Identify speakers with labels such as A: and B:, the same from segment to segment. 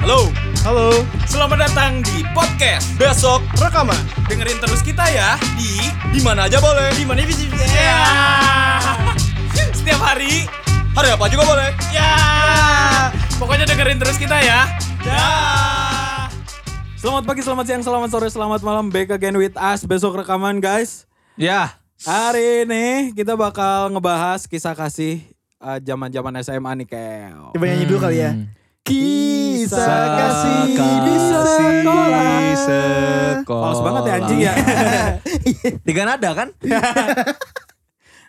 A: Halo,
B: Halo,
A: selamat datang di podcast besok.
B: rekaman.
A: Dengerin terus kita ya di di mana aja boleh. Di mana bisa. Ya.
C: Ya.
A: Setiap hari, hari apa juga boleh. Ya. Pokoknya dengerin terus kita ya. Ya.
C: Selamat pagi, selamat siang, selamat sore, selamat malam Back again with us Besok rekaman guys
B: Ya,
C: Hari ini kita bakal ngebahas kisah kasih eh, zaman-zaman SMA nih Kel
B: coba nyanyi dulu kali ya.
C: Kisah kasih di sekolah.
B: di sekolah.
C: Males banget ya anjing ya
B: Tiga nada kan?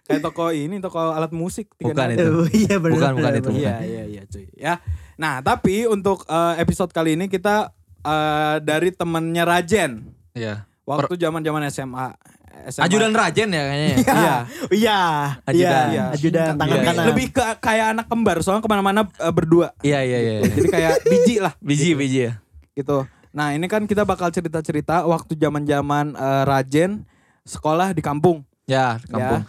C: Kayak toko ini, toko alat musik tiga
B: Bukan
C: nada.
B: itu.
D: Oh, iya benar.
B: gitu. Bukan, bukan itu.
C: Iya, iya, iya cuy ya. Nah tapi untuk eh, episode kali ini kita eh, dari temennya Rajen
B: Iya.
C: Waktu zaman-zaman SMA, SMA
B: Ajudan Rajen ya kayaknya. ya?
C: Iya.
D: Iya. Iya.
B: Ajudan.
D: Ajudan tangan
B: Iya, iya.
D: kanan.
C: Lebih ke kayak anak kembar soalnya kemana-mana eh, berdua
B: Iya, iya, iya.
C: Gitu. Jadi kayak biji lah
B: Biji, biji ya.
C: gitu. Nah ini kan kita bakal cerita-cerita waktu zaman zaman Rajen sekolah di kampung.
B: Ya, kampung.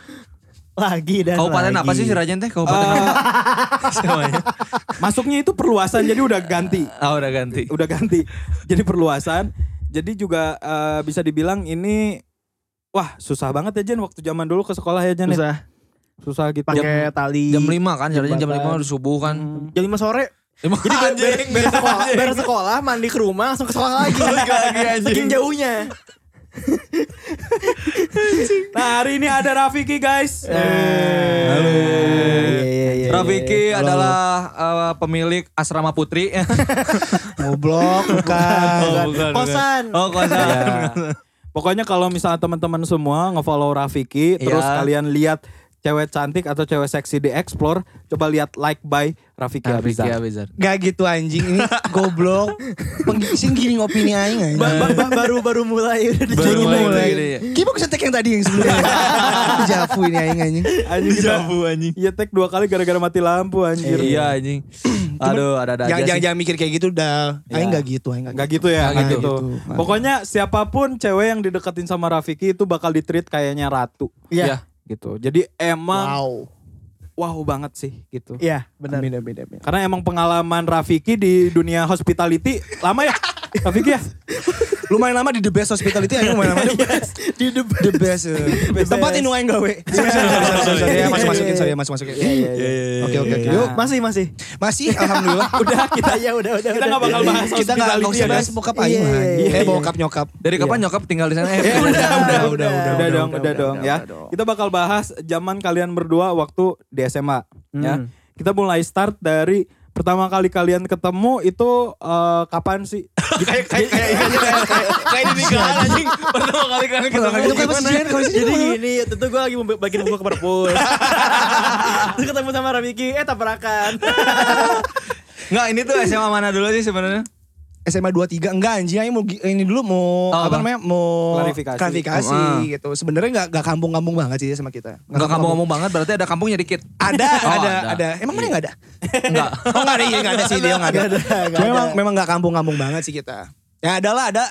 D: lagi dan
B: Ya, Kabupaten
D: lagi.
B: apa sih si Rajen teh? Kabupaten apa? Semuanya.
C: Masuknya itu perluasan jadi udah ganti.
B: Ah, udah ganti.
C: Udah ganti. Jadi perluasan. Jadi juga eh, bisa dibilang ini wah susah banget ya Jen waktu zaman dulu ke sekolah ya Jen. ya.
D: Susah
C: Susah gitu.
D: pakai tali.
B: Jam 5 kan, si Rajen jam
D: Jembatan.
B: 5 udah subuh kan.
C: Hmm.
D: Jam 5 sore.
B: Emang anjing, beres
D: Sekolah, beres sekolah, mandi ke rumah, langsung ke sekolah lagi. Saking jauhnya.
C: Nah hari ini ada Rafiki guys.
B: Eh.
D: Halo.
B: Iya,
D: Iya,
B: Rafiki adalah eh, pemilik asrama putri.
D: Goblok bukan.
B: Oh, bukan, bukan.
D: Kosan.
B: oh, kosan.
C: Ya. Pokoknya kalau misalnya teman-teman semua ngefollow Rafiki, terus
B: Iya.
C: kalian lihat cewek cantik atau cewek seksi di Explore, coba lihat like by Rafiki Abizar.
B: Iya, Abizar.
E: Gak gitu anjing ini goblok. Penggising gini opini aing anjing.
D: Ba- ba- ba- Baru-baru mulai. udah
B: Baru
D: dijadiin
B: mulai,
D: mulai.
B: gini ya.
E: Kita mau kesetek yang tadi yang sebelumnya. Jafu ini aing anjing.
C: Anjing kita,
B: anjing.
C: ya tag dua kali gara-gara mati lampu anjir.
B: Iya anjing. Aduh, ada-ada
E: Jangan
B: aja
E: jangan
B: sih.
E: jangan mikir kayak gitu dah.
D: Ya.
E: Aing gak gitu, aing gak
C: Gak gitu ya,
B: Nggak
C: nggak
B: gitu.
C: gitu.
E: Nggak.
C: Pokoknya siapapun cewek yang dideketin sama Rafiki itu bakal ditreat kayaknya ratu
B: Iya.
E: Ya.
D: Iya.
C: gitu. Jadi emang
E: Wow.
C: wow, banget sih gitu.
D: Iya,
E: Ya,
D: benar.
E: Beda beda beda.
C: Karena emang pengalaman Rafiki di dunia hospitality lama ya. Rafiki ya?
E: Lumayan lama di The Best Hospital itu aing lumayan lama di di The Best. The Best. eh. Tempat ini aing gawe. Sorry, sorry, sorry, sorry, sorry. Ya, Masuk masukin sorry, masuk masukin.
C: Iya,
E: Oke oke oke. Yuk,
D: Yuk, masih masih.
E: masih alhamdulillah.
D: Udah kita ya udah udah.
C: iya. Kita
D: udah.
C: nggak bakal bahas
E: Kita gak
C: hospitality ya
E: usah
C: guys.
E: bahas bokap aing.
D: Iya,
E: anjing.
D: iya,
E: Eh
D: iya.
E: bokap nyokap.
B: Dari kapan nyokap tinggal di sana? Eh,
C: udah, udah, Iya. udah,
E: udah,
C: udah,
E: udah,
C: dong,
E: udah,
C: udah
E: udah,
C: dong
E: udah,
C: ya.
E: udah dong.
C: Kita bakal bahas zaman kalian berdua waktu di SMA ya. Kita mulai start dari pertama kali kalian ketemu itu eh, kapan sih?
B: Kayak kayak kayak kayak di nikahan anjing. Pertama kali kan kita
E: Itu kan masih jalan kalau
D: Jadi
E: sini.
D: gini, ya, tentu gue lagi bagian buku ke perpus. Terus ketemu sama Rafiki, eh tabrakan.
B: Enggak, ini tuh SMA mana dulu sih sebenarnya?
E: SMA 23 enggak anjing aing mau gi- ini dulu
B: Oh,
E: mau
B: apa?
E: apa namanya mau
C: Klarifikasi.
E: klarifikasi,
B: Oh, ah.
E: gitu. Sebenarnya enggak enggak kampung-kampung banget sih sama kita.
B: Enggak kamu ngomong banget berarti ada kampungnya dikit.
E: Ada,
B: Oh,
E: ada,
B: ada.
E: ada, Emang mana enggak ada?
B: Enggak.
E: Oh enggak ada, iya enggak ada sih dia enggak ada.
D: Nggak ada, nggak
E: Cuma memang
D: ada.
E: memang enggak kampung-kampung banget sih kita. Ya adalah ada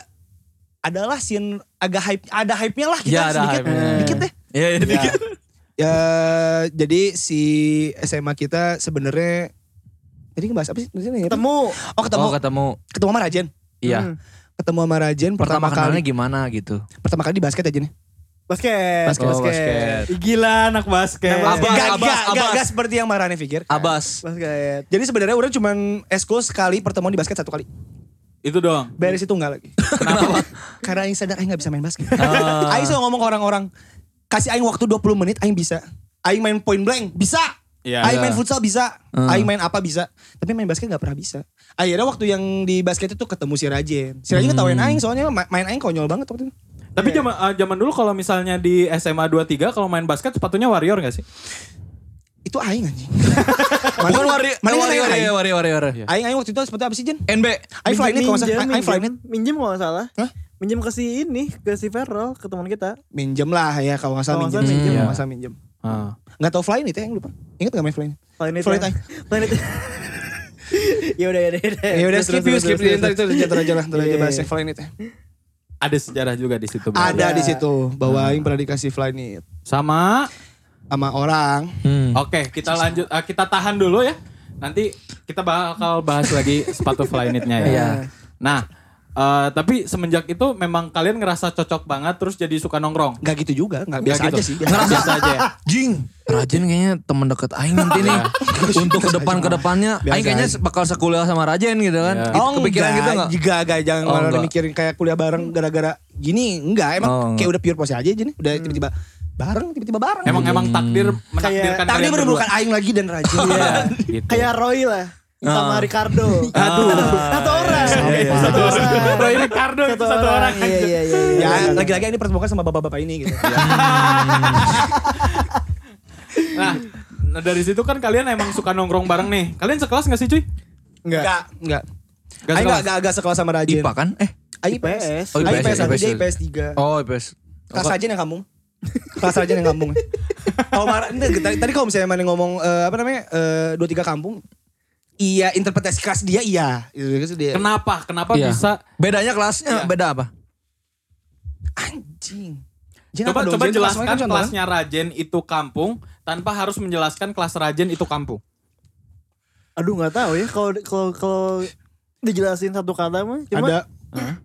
E: adalah scene agak hype ada hype-nya lah kita
B: Ya, ada
E: sedikit
B: hype-nya.
E: dikit deh.
B: Iya, iya, dikit.
E: Ya jadi si SMA kita sebenarnya tadi ngebahas apa sih? Ketemu.
D: Ketemu.
E: Oh ketemu
B: Oh, ketemu.
E: ketemu sama Rajen.
B: Iya.
D: Hmm.
E: Ketemu sama Rajen
B: Pertama
E: pertama,
B: kenalnya
E: kali
B: gimana gitu?
E: pertama kali di basket ya, aja nih.
D: Basket.
E: Basket,
B: Oh,
E: basket.
B: basket.
C: Ih, Gila anak basket.
B: Anak basket. Abas,
E: Gak,
B: abas,
E: gak, gak,
B: abas.
E: gak seperti yang Marane pikir.
B: Abas.
D: Basket.
E: Jadi sebenarnya orang cuman eskul sekali pertemuan di basket satu kali.
C: Itu dong.
E: Beres itu enggak lagi.
B: Kenapa?
E: Karena Aing sadar Aing gak bisa main basket.
B: Ah.
E: Aing selalu ngomong ke orang-orang, kasih Aing waktu 20 menit Aing bisa. Aing main point blank, bisa.
C: Iya.
E: Aing main futsal bisa,
B: Hmm.
E: Aing main apa bisa, tapi main basket gak pernah bisa. Akhirnya waktu yang di basket itu ketemu si Rajen. Si Rajen ketawain
B: Hmm.
E: Aing soalnya ma- main Aing konyol banget waktu itu.
C: Tapi zaman eh, zaman dulu kalau misalnya di SMA 23 kalau main basket sepatunya warrior gak sih?
E: Itu Aing anjing.
B: Bukan Eh, warrior,
E: Mana yang Iya.
B: warrior, iya,
E: main Aing?
B: warrior, warrior, warrior.
E: Aing Aing waktu itu seperti apa sih Jen?
B: NB.
E: Aing fly net kalau nggak salah.
D: Minjem,
E: Aing fly
D: minjem.
E: net.
D: Minjem kalau nggak salah.
E: Hah?
D: Minjem ke si ini, ke si Ferrell, ke teman kita.
E: Minjem lah ya kalau nggak salah
D: Kalau nggak
E: minjem.
D: salah
B: minjem.
E: Kalau nggak salah minjem.
C: Ah.
E: Nggak tahu fly net ya yang lupa. Ingat nggak main fly net?
D: Planet.
E: Planet Aing.
D: Planet. Ya udah, ya udah,
E: Ya udah skip yuk, skip yuk. Ntar itu ntar aja lah, ntar aja
D: Iya,
E: bahas
D: iya.
E: yang fly net ya.
C: Ada sejarah juga di situ. Bang.
E: Ada di situ bahwa Aing pernah dikasih fly net
C: Sama
E: sama orang.
B: Hmm.
C: Oke, kita lanjut. eh, kita tahan dulu ya. Nanti kita bakal bahas lagi sepatu fly knit-nya ya.
F: Iya.
C: Nah, eh, tapi semenjak itu memang kalian ngerasa cocok banget terus jadi suka nongkrong.
E: Gak gitu juga, gak biasa
C: Nggak
E: aja
C: gitu?
E: sih.
C: Ngerasa biasa aja ya.
B: Jing, Rajin kayaknya temen deket Aing nanti nih.
C: Iya.
B: Untuk ke depan ke depannya, Aing kayaknya bakal sekuliah sama Rajen gitu kan.
C: Iya.
B: Gitu,
E: Oh,
B: kepikiran gitu nggak?
E: Juga gak, jangan
B: Oh,
E: malah
B: enggak.
E: mikirin kayak kuliah bareng gara-gara gini. Enggak, emang
B: Oh,
E: kayak
B: enggak.
E: udah pure pose aja aja nih. Udah tiba-tiba bareng, tiba-tiba bareng.
C: Emang emang takdir menakdirkan
E: Tapi
C: kalian berdua.
E: menemukan Aing lagi dan Rajin. Iya.
C: Gitu.
D: Kayak Roy lah.
E: Ah.
D: Sama Ricardo.
C: Aduh. Iya,
D: Satu orang.
E: Iya,
D: Iya, Satu orang.
C: Roy Ricardo itu satu orang.
D: Iya, iya, iya.
E: ya, lagi-lagi ini pertemuan sama bapak-bapak ini gitu.
C: Nah, nah, dari situ kan kalian emang suka nongkrong bareng nih. Kalian sekelas gak sih cuy?
E: Enggak, enggak.
C: Nggak
E: Aing
C: sekelas.
E: enggak enggak enggak sekelas sama Ah, Rajin.
B: IPA kan? Eh,
E: Aing IPS.
B: Oh,
E: Aing
B: IPS,
E: IPS satu,
B: IPS.
E: dia IPS 3.
B: oh IPS.
E: Kelas aja yang kamu. Kelas aja yang kampung. Kalau marah, enggak, tadi, tadi kalau misalnya mana ngomong eh, apa namanya eh, dua tiga kampung, iya interpretasi kelas dia iya. Itu itu dia.
C: Kenapa? Kenapa
B: Iya.
C: bisa?
B: Bedanya kelasnya beda apa?
E: Anjing. Jin,
C: Coba
E: apa dong,
C: coba
E: Jin? Kelas
C: jelaskan
E: mana kan contohnya?
C: kelasnya Rajen itu kampung tanpa harus menjelaskan kelas Rajen itu kampung.
D: Aduh nggak tahu ya kalau kalau kalau dijelasin satu kata mah cuma
E: ada
C: Hmm.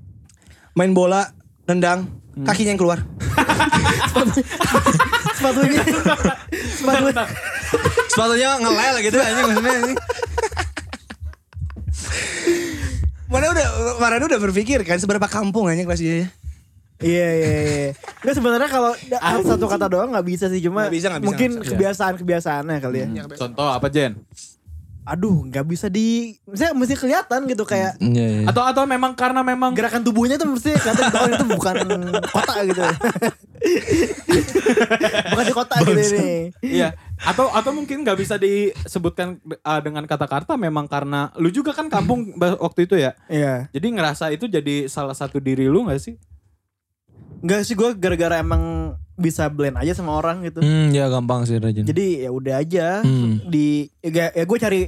E: main bola, nendang, kakinya yang keluar.
D: sepatunya sepatunya
B: Sepatunya ngelel gitu aja maksudnya ini.
E: Mana udah Marano udah berpikir kan seberapa kampung aja kelas dia ya.
D: Iya iya iya. Enggak sebenarnya kalau da- satu kata doang nggak bisa sih cuma
E: Nggak bisa, nggak bisa,
D: mungkin
E: nggak bisa. Hmm. Iya,
D: kebiasaan-kebiasaannya kali ya.
C: Contoh apa Jen?
D: Aduh, nggak bisa di saya mesti kelihatan gitu kayak
E: Hmm.
B: Iya, iya.
C: Atau atau memang karena memang
D: gerakan tubuhnya tuh mesti kelihatan gitu, oh, itu bukan kota gitu. bukan di kota gitu ini.
C: Iya. Atau atau mungkin nggak bisa disebutkan uh, dengan kata-kata memang karena lu juga kan kampung ba- waktu itu ya.
D: Iya.
C: Jadi ngerasa itu jadi salah satu diri lu nggak sih?
D: Enggak sih gue gara-gara emang bisa blend aja sama orang gitu.
B: Hmm, ya gampang sih Rajen.
D: Jadi ya udah aja
B: Hmm.
D: di ya, ya gue cari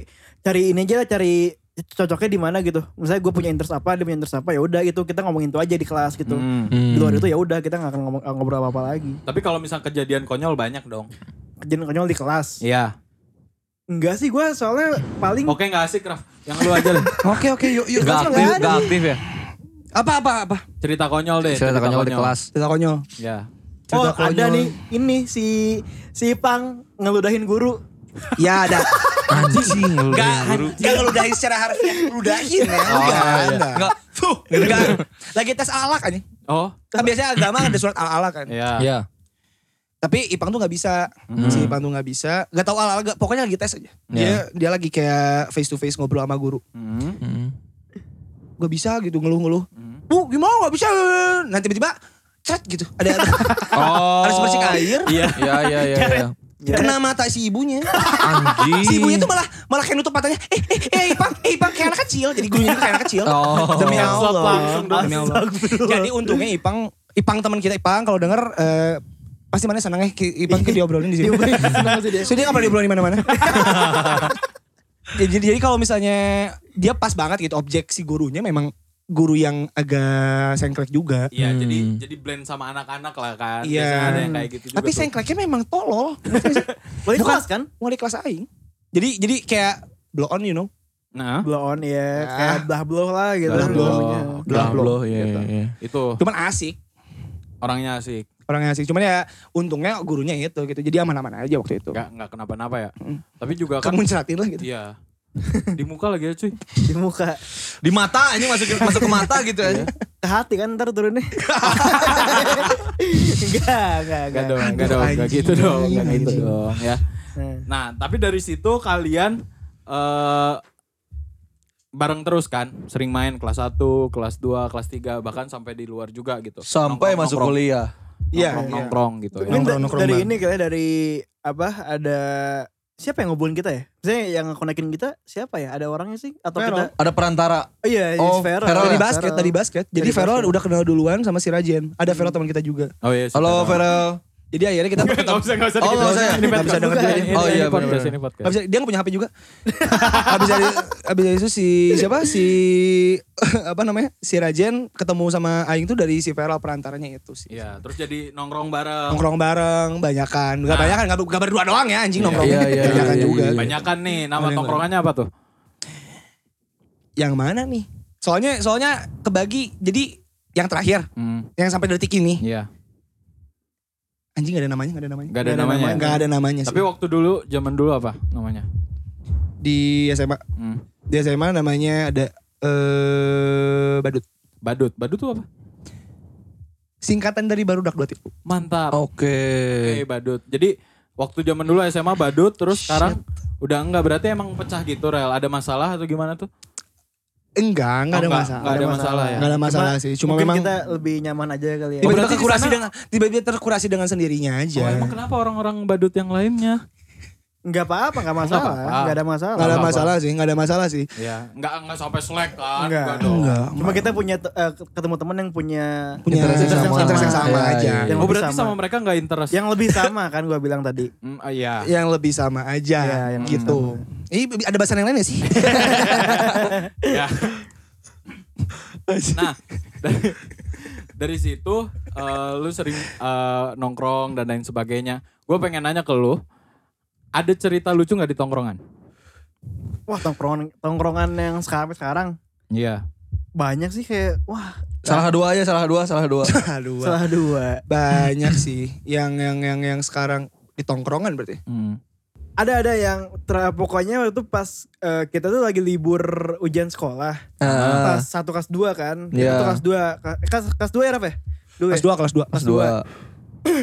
D: cari ini aja lah, cari cocoknya di mana gitu. Misalnya gue punya interest apa, dia punya interest apa, ya udah gitu kita ngomongin itu aja di kelas gitu.
E: Hmm.
D: Di luar itu ya udah kita nggak akan ngomong ngobrol apa apa lagi.
C: Tapi kalau misal kejadian konyol banyak dong.
D: Kejadian konyol di kelas.
C: Iya.
D: Enggak sih gue soalnya paling oh,
C: Oke nggak asik Raf. Yang lu aja lah.
E: Oke oke yuk yuk.
B: Gak aktif,
D: nggak ada.
B: gak aktif ya.
E: Apa apa apa?
C: Cerita konyol deh.
B: Cerita konyol di kelas.
E: Cerita konyol.
C: Iya.
D: oh
E: cerita
D: ada
E: konyol.
D: nih ini si si Pang ngeludahin guru.
E: Ya ada.
B: Anjing lu.
E: Enggak, enggak ngeludahin secara harfiah, ngeludahin ya. Enggak, enggak.
B: Oh, iya, Enggak.
E: Fuh, enggak. Lagi tes alak aja.
C: Oh.
E: Kan biasanya agama ada surat al-alak kan.
C: Iya.
B: Iya. Hmm.
E: Tapi Ipang tuh gak bisa. Si Ipang tuh gak bisa. Gak tau al-alak, nggak- pokoknya lagi
B: Iya.
E: tes aja. Dia, dia lagi kayak face to face ngobrol sama guru.
C: Hmm.
B: Hmm.
E: Gak bisa gitu, ngeluh-ngeluh. Bu, gimana gak bisa? Nanti tiba-tiba, cet gitu. Ada, ada,
C: Oh.
E: harus bersih air.
C: Iya.
B: Iya, iya, iya. iya.
E: Kena mata si ibunya.
B: Anjing.
E: Si ibunya tuh malah malah kayak nutup matanya. Eh, eh, eh, Ipang, eh, Ipang kayak anak kecil. Jadi gurunya tuh kayak anak kecil.
B: Oh.
E: Demi
D: Ya
C: Slap
E: Allah.
C: langsung dong.
E: Demi Allah. Jadi untungnya Ipang, Ipang teman kita Ipang kalau denger eh, pasti mana senangnya Ki- Ipang ke diobrolin di sini. So dia nggak pernah diobrolin di mana-mana. jadi jadi kalau misalnya dia pas banget gitu objek si gurunya memang guru yang agak sengklek juga.
C: Iya, jadi
B: Hmm.
C: jadi blend sama anak-anak lah kan.
E: Iya.
C: Biasanya ada yang kayak gitu juga.
E: Tapi
C: tuh.
E: sengkleknya memang tolol.
D: Wali
E: Bukan.
D: kelas kan?
E: Mulai kelas aing. Jadi jadi kayak blow on you know.
C: Nah,
D: Blow on ya, kayak
E: Ah.
D: blah blow lah gitu.
C: Blah blow.
D: namanya.
B: Belah
E: blow.
B: blow, iya, iya, iya.
C: itu
E: Cuman asik.
C: orangnya asik.
E: Orangnya asik. Cuman ya untungnya gurunya itu gitu. Jadi aman-aman aja waktu itu.
C: Nggak, nggak kenapa-napa ya.
B: Hmm.
C: Tapi juga kan,
E: Kamu ceratin lah gitu.
C: iya. Di muka lagi ya cuy.
D: Di muka.
B: Di mata ini masuk masuk ke mata gitu aja.
D: Ke hati kan ntar turunnya. enggak,
C: Gak
D: enggak, enggak.
C: dong, gak dong, gak
E: anjing,
C: gitu dong, gak
E: anjing.
C: gitu dong ya.
D: Nah.
C: Nah, tapi dari situ kalian eh bareng terus kan, sering main kelas 1, kelas 2, kelas 3, bahkan sampai di luar juga gitu.
B: Sampai masuk kuliah.
C: Iya,
E: Iya,
C: nongkrong,
E: iya.
C: nongkrong gitu ya.
D: Mungkin da-
E: Nongkrong, nongkrong
D: dari
E: bareng.
D: ini kayaknya dari apa ada siapa yang ngobulin kita ya? Misalnya yang konekin kita siapa ya? Ada orangnya sih atau kita?
B: Ada perantara.
D: Oh iya,
B: Oh,
D: Vera.
B: Vera
E: Dari
B: Ferol.
E: basket, dari basket. Jadi
D: Dari
E: Ferol
D: basket.
E: udah kenal duluan sama si Rajen. Ada Ferol teman kita juga.
C: Oh iya.
B: Halo Vera.
E: Jadi akhirnya kita
C: Enggak
E: ketemu.
C: usah, enggak usah.
B: Oh, nggak usah ya?
C: Ini
E: Nggak
C: podcast.
E: bisa denger
C: Bukan,
E: dia.
C: ini-
B: Oh,
C: ini
B: iya,
C: podcast,
B: bener-bener.
C: ini podcast.
E: Habis dia nggak punya HP juga. habis dari habis dari itu si siapa si apa namanya si Rajen ketemu sama Aing tuh dari si Ferol perantaranya itu sih.
C: Iya, terus jadi nongkrong bareng.
E: Nongkrong bareng, kan. banyakan, nggak banyakan, nggak, nggak berdua doang ya anjing nongkrong,
B: iya, iya,
E: banyakan
B: iya,
E: juga.
B: iya.
C: Banyakan nih, nama tongkrongannya apa tuh?
E: yang mana nih? Soalnya soalnya kebagi jadi yang terakhir,
C: Hmm,
E: yang sampai detik ini.
A: Iya.
E: Anjing gak ada namanya, gak ada namanya.
A: Gak ada namanya.
E: Gak ada namanya Iya sih.
A: Tapi waktu dulu, zaman dulu apa namanya?
E: di SMA,
A: Hmm.
E: di SMA namanya ada eh badut.
A: Badut. Badut tuh apa?
E: Singkatan dari Barudak Dua Tipu.
A: Mantap.
B: Oke.
A: Oke, badut. Jadi waktu zaman dulu SMA badut, terus sekarang udah enggak berarti emang pecah gitu rel. Ada masalah atau gimana tuh?
E: Enggak, enggak
A: Oh,
E: ada
A: enggak,
E: masalah.
A: enggak ada masalah ya.
E: Enggak ada masalah sih, cuma
D: mungkin
E: memang Iya,
D: kita lebih nyaman aja kali ya.
E: tiba-tiba
A: berarti di
E: terkurasi
A: sana-
E: dengan tiba-tiba terkurasi dengan sendirinya aja.
A: Oh, emang kenapa orang-orang badut yang lainnya?
D: Enggak apa-apa, enggak masalah,
A: apa-apa.
D: enggak ada masalah.
E: Gak ada
A: Apa-apa.
E: masalah sih, gak ada masalah sih.
A: Iya, enggak enggak sampai slack kan?
D: Enggak.
A: dong.
D: Cuma kita punya te- eh, ketemu teman yang punya
E: Punya
B: Interest yang sama.
E: interest yang sama
B: Iya,
E: aja.
B: iya.
D: yang
A: Oh,
D: lebih
A: berarti sama.
D: sama.
A: mereka enggak interest.
D: yang lebih sama kan gua bilang tadi.
A: Hmm, ah, iya.
E: Yang lebih sama aja
D: Iya, yang lebih
E: gitu. Ih, ada bahasan yang lain ya sih?
A: ya. Nah, dari, dari situ eh, lu sering eh, nongkrong dan lain sebagainya. Gue pengen nanya ke lu, ada cerita lucu nggak di tongkrongan?
D: Wah, tongkrongan tongkrongan yang sekarang sekarang
A: Iya.
D: banyak sih kayak wah,
B: Salah dua aja, salah dua, salah dua.
E: Aduh.
D: salah dua.
E: banyak sih yang yang yang yang sekarang di tongkrongan berarti
A: Hmm.
D: Ada ada yang ter- pokoknya waktu itu pas eh, kita tuh lagi libur ujian sekolah.
B: Ah.
D: Kelas satu kelas dua kan. Kita
B: Iya.
D: tuh kelas dua Ke- kelas kelas dua ya Raf ya? Dulu ya?
E: kelas dua kelas dua
B: Pas dua.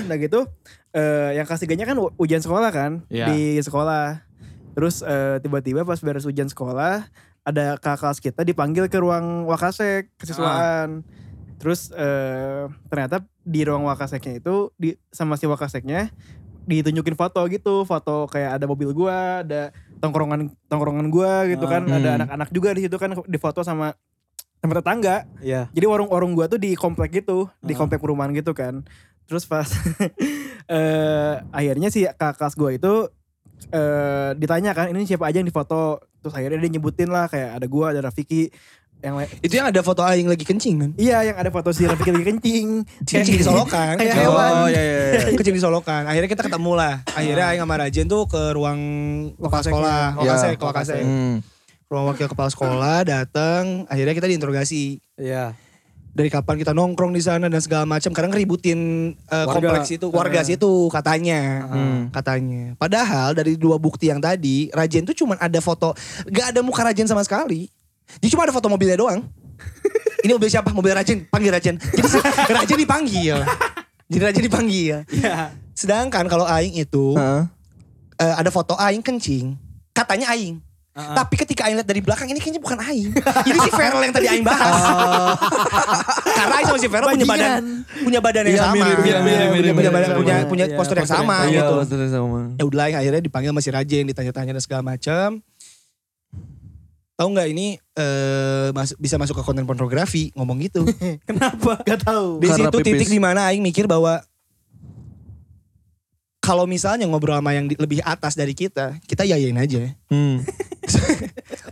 D: Nah gitu, eh yang kelas tiganya kan u- ujian sekolah kan
A: Iya.
D: di sekolah. Terus eh, tiba-tiba pas beres ujian sekolah, ada kakak kelas kita dipanggil ke ruang wakasek kesiswaan. Terus eh ternyata di ruang wakaseknya itu di sama si wakaseknya ditunjukin foto gitu, foto kayak ada mobil gua, ada tongkrongan tongkrongan gua gitu kan,
B: Ah.
D: ada
B: Hmm.
D: anak-anak juga di situ kan di foto sama sama tetangga.
A: Iya.
D: Jadi warung-warung gua tuh di komplek gitu, di komplek perumahan gitu kan. Terus pas eh akhirnya si kakak kelas gua itu eh ditanya kan ini siapa aja yang difoto. Terus akhirnya dia nyebutin lah kayak ada gua, ada Rafiki yang lain.
E: itu yang ada foto aing lagi kencing kan
D: Iya, yang ada foto si Rafiki lagi kencing. Kan?
E: kencing di solokan Oh,
D: Kayak
B: Eh,
E: kencing di
D: hewan. Ah.
B: Oh,
E: solokan.
B: iya,
E: kencing di solokan akhirnya kita ketemu lah akhirnya aing sama Rajen tuh ke ruang kepala
D: Wakaseknya.
E: sekolah wakasek
B: Iya.
E: wakasek
B: Hmm.
E: ruang wakil kepala sekolah datang akhirnya kita diinterogasi
A: Iya.
E: dari kapan kita nongkrong di sana dan segala macam karena ngeributin eh,
A: Warga.
E: kompleks itu warga situ katanya
B: Hmm.
E: katanya padahal dari dua bukti yang tadi Rajen tuh cuman ada foto gak ada muka Rajen sama sekali dia cuma ada foto mobilnya doang ini mobil siapa mobil Rajen panggil Rajen jadi si- Rajen dipanggil jadi Rajen dipanggil
A: Iya.
E: sedangkan kalau Aing itu
B: Heeh.
E: eh, ada foto Aing kencing katanya Aing Tapi ketika Aing lihat dari belakang ini kayaknya bukan Aing. Ini si Verel yang tadi Aing bahas.
B: Oh.
E: Karena Aing sama si Verel punya badan, punya badan yang
B: Iya,
E: sama,
B: mirip,
E: Iya,
B: mirip,
E: punya
B: mirip, mirip,
E: punya
B: mirip,
E: badan-
B: mirip,
E: punya
B: mirip.
E: punya
D: Iya,
E: postur yang
D: postur
E: sama
B: Iya,
E: gitu.
B: betul sama.
E: Ya udah Aing akhirnya dipanggil masih Rajen ditanya-tanya dan segala macam. Tahu nggak ini eh, mas- bisa masuk ke konten pornografi ngomong gitu.
D: Kenapa? Gak tahu.
E: Di
B: Karena
E: situ
B: pipis.
E: titik di mana Aing mikir bahwa kalau misalnya ngobrol sama yang di- lebih atas dari kita, kita yayain aja.
B: Hmm.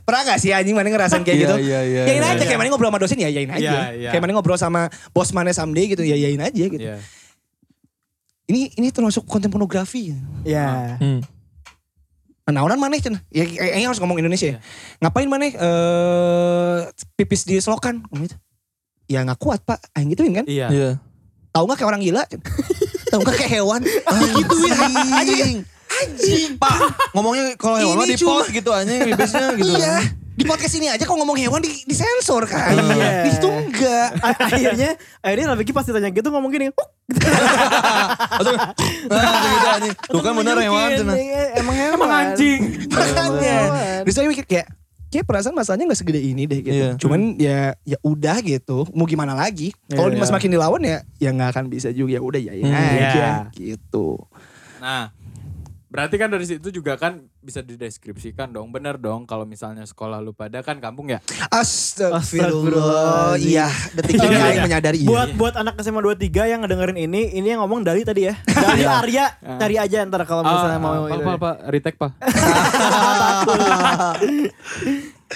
E: Pernah gak sih anjing mana ngerasain kayak gitu?
B: Iya, iya,
E: Yayain
B: iya.
E: aja kayak mana ngobrol sama dosen ya yayain aja.
A: Iya, iya.
E: Kayak mana ngobrol sama bos mana someday gitu ya yayain aja gitu.
A: Iya.
E: Ini ini termasuk konten pornografi. Nah,
D: Ya.
B: Hmm.
E: Naonan mana Cen? Ya kayaknya harus ngomong
B: Iya.
E: Indonesia. ya. Ngapain mana eh pipis di selokan Ngomong gitu. Ya nggak kuat pak, aing gituin kan.
A: Iya.
B: Iya.
E: Tahu nggak kayak orang gila? Cen? Tahu nggak kayak hewan? Gituin anjing. Anjing. Pak,
B: Ngomongnya kalau hewan
E: Ini
B: mah di
E: cuma-
B: pause gitu anjing bibisnya gitu.
E: iya. Di podcast ini aja kalau ngomong hewan di, disensor kan.
D: Iya.
E: Di situ enggak.
D: A- akhirnya akhirnya Rafiki pasti tanya gitu ngomong gini. "Huk,
B: Nah, gitu anjing. Tuh kan bener
D: nunjukin."
B: hewan cenah.
D: Iya, Emang hewan.
A: Emang anjing.
E: Makanya.
D: Hewan.
E: Terus saya mikir kayak kayak perasaan masalahnya nggak segede ini deh gitu.
B: Iya.
E: Cuman ya ya udah gitu. Mau gimana lagi? Kalau
D: Iya,
E: mas
D: iya.
E: makin dilawan ya ya nggak akan bisa juga. Ya udah ya ya
B: Hmm.
E: aja
A: Iya.
E: gitu.
A: Nah, berarti kan dari situ juga kan bisa dideskripsikan dong. Bener dong kalau misalnya sekolah lu pada kan kampung ya.
E: Astagfirullah.
D: Astagfirullahaladzim.
E: Iya, detik ini
A: Iya.
E: saya menyadari iya.
D: Buat buat anak SMA 23 yang ngedengerin ini, ini yang ngomong Dali tadi ya.
E: Iya.
D: Dali Arya, cari aja ntar kalau
E: Ah,
D: misalnya
A: Ah,
D: mau gitu.
A: Pak,
D: itu.
A: pak, pak, retake pak.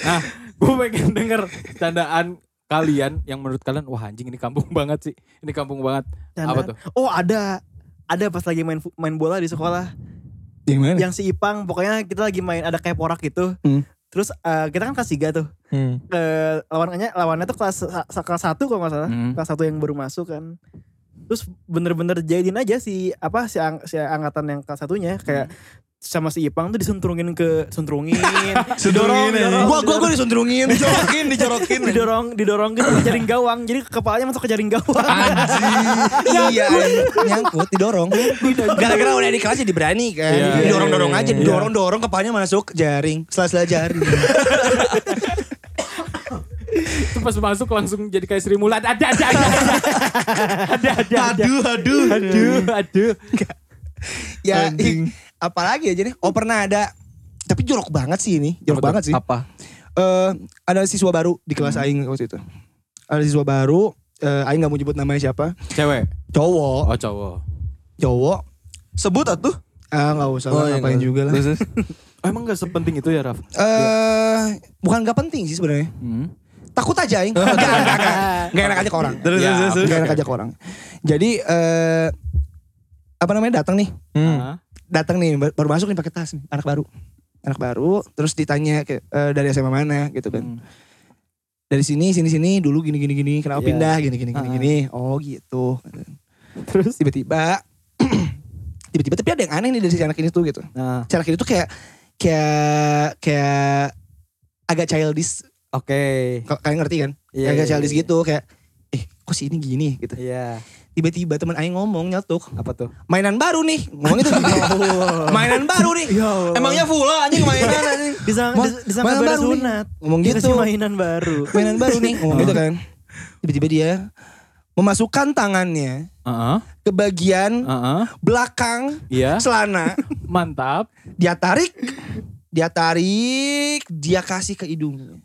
A: nah, gue pengen denger candaan kalian yang menurut kalian, wah anjing ini kampung banget sih. Ini kampung banget.
D: Candaan.
A: Apa tuh?
D: Oh ada, ada pas lagi main fu- main bola di sekolah.
E: Yang mana?
D: Ya Yang si Ipang, pokoknya kita lagi main ada kayak porak gitu.
E: Hmm.
D: Terus eh, kita kan kelas 3 tuh.
B: Hmm.
D: eh, lawannya lawannya tuh kelas sa- kelas satu kalau nggak salah
B: Hmm.
D: kelas satu yang baru masuk kan terus bener-bener jadiin aja si apa si, ang- si angkatan yang kelas satunya kayak sama si Ipang tuh disentrungin ke sentrungin
A: Sedorong,
D: didorong,
E: Gua gua gua disundrungin.
A: dijorokin, dijorokin.
D: didorong didorong gitu ke jaring gawang jadi kepalanya masuk ke jaring gawang
E: Iya, nyangkut didorong. Gara-gara udah di kelas jadi berani kan. Didorong-dorong aja, didorong-dorong kepalanya masuk jaring, sela-sela jaring.
C: Itu pas masuk langsung jadi kayak Sri Mulat. Ada, ada, ada. Ada, ada, ada.
E: aduh, aduh.
C: Aduh, aduh.
E: Ya, ih, apalagi aja nih. Oh, pernah ada tapi jorok banget sih ini, jorok banget sih.
B: Apa?
E: Eh, ada siswa baru di kelas aing waktu itu. Ada siswa baru, eh, aing gak mau nyebut namanya siapa.
A: Cewek.
E: Cowok,
A: Oh cowok.
E: cowok.
A: Sebut atuh.
E: Ah, nggak usah lah, ngapain juga lah.
B: Terus, terus.
G: Emang gak sepenting itu ya Raf?
E: Eh, bukan gak penting sih sebenarnya.
A: Hmm.
E: Takut aja aing. Gak, gak, gak. Gak enak aja ke orang.
A: Terus,
E: Ya,
A: terus, terus.
E: Gak enak aja ke orang. Jadi eh apa namanya datang nih.
B: Hmm.
E: Datang nih ba- baru masuk nih pakai tas nih, anak baru. Anak baru terus ditanya ke, eh, dari SMA mana gitu
A: Hmm.
E: kan. Dari sini sini sini dulu gini gini gini kenapa pindah gini gini gini gini. Oh gitu. Terus tiba-tiba tiba-tiba tapi ada yang aneh nih dari si anak ini tuh gitu.
G: Nah,
E: Si anak ini tuh kayak kayak kayak agak childish
G: oke.
E: Ka- kalian ngerti kan?
G: Iya,
E: kayak
G: iya,
E: childish
G: iya.
E: gitu kayak eh kok si ini gini gitu.
G: Iya,
E: Tiba-tiba teman aing ngomong nyetuk,
G: apa tuh?
E: mainan baru nih. Ngomong itu
G: Ya
E: mainan baru nih. ah,
A: Emangnya Fula anjing mainan anjing.
D: disangka
E: Ma-
D: disangka
E: mainan
D: beres
E: baru nih.
D: sunat
G: Iya,
E: Ngomong
D: Dikasih
E: gitu.
D: mainan baru
E: Mainan baru nih. Ngomong gitu kan. Tiba-tiba dia memasukkan tangannya
A: Heeh.
E: ke
G: Ah.
E: bagian
A: Heeh.
E: belakang
A: Iya.
E: celana.
C: Mantap.
E: Dia tarik, dia tarik, dia kasih ke hidungnya.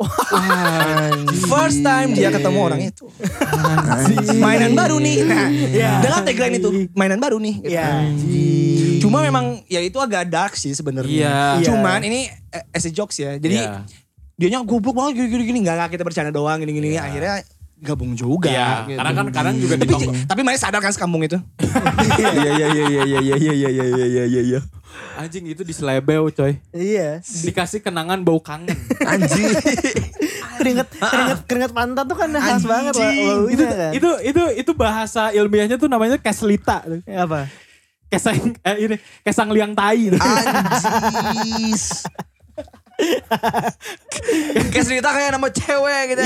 E: First time dia ketemu orang itu. mainan baru nih. Nah, dalam tagline itu mainan baru nih. gitu.
D: Iya.
E: Cuma memang ya itu agak dark sih sebenarnya.
D: Iya.
E: Cuman ini eh, as a jokes ya. Jadi
A: Iya.
E: dianya goblok banget gini gini gini enggak enggak, kita bercanda doang gini gini akhirnya gabung juga.
C: Iya,
E: gitu.
C: karena kan kadang juga
E: tapi
C: ditongkrong.
E: tapi mainnya sadar kan sekampung itu.
A: Iya iya iya iya iya iya iya iya iya iya iya iya. Anjing itu diselebew coy.
D: iya
C: Dikasih kenangan bau kangen.
D: keringet keringet keringet pantat tuh kan khas banget lah
C: itu,
D: waunya kan
C: itu itu itu bahasa ilmiahnya tuh namanya keslita.
D: apa
C: Kesang eh, ini kesang liang tai.
E: Anjis.
B: Kayak cerita kayak nama cewek gitu.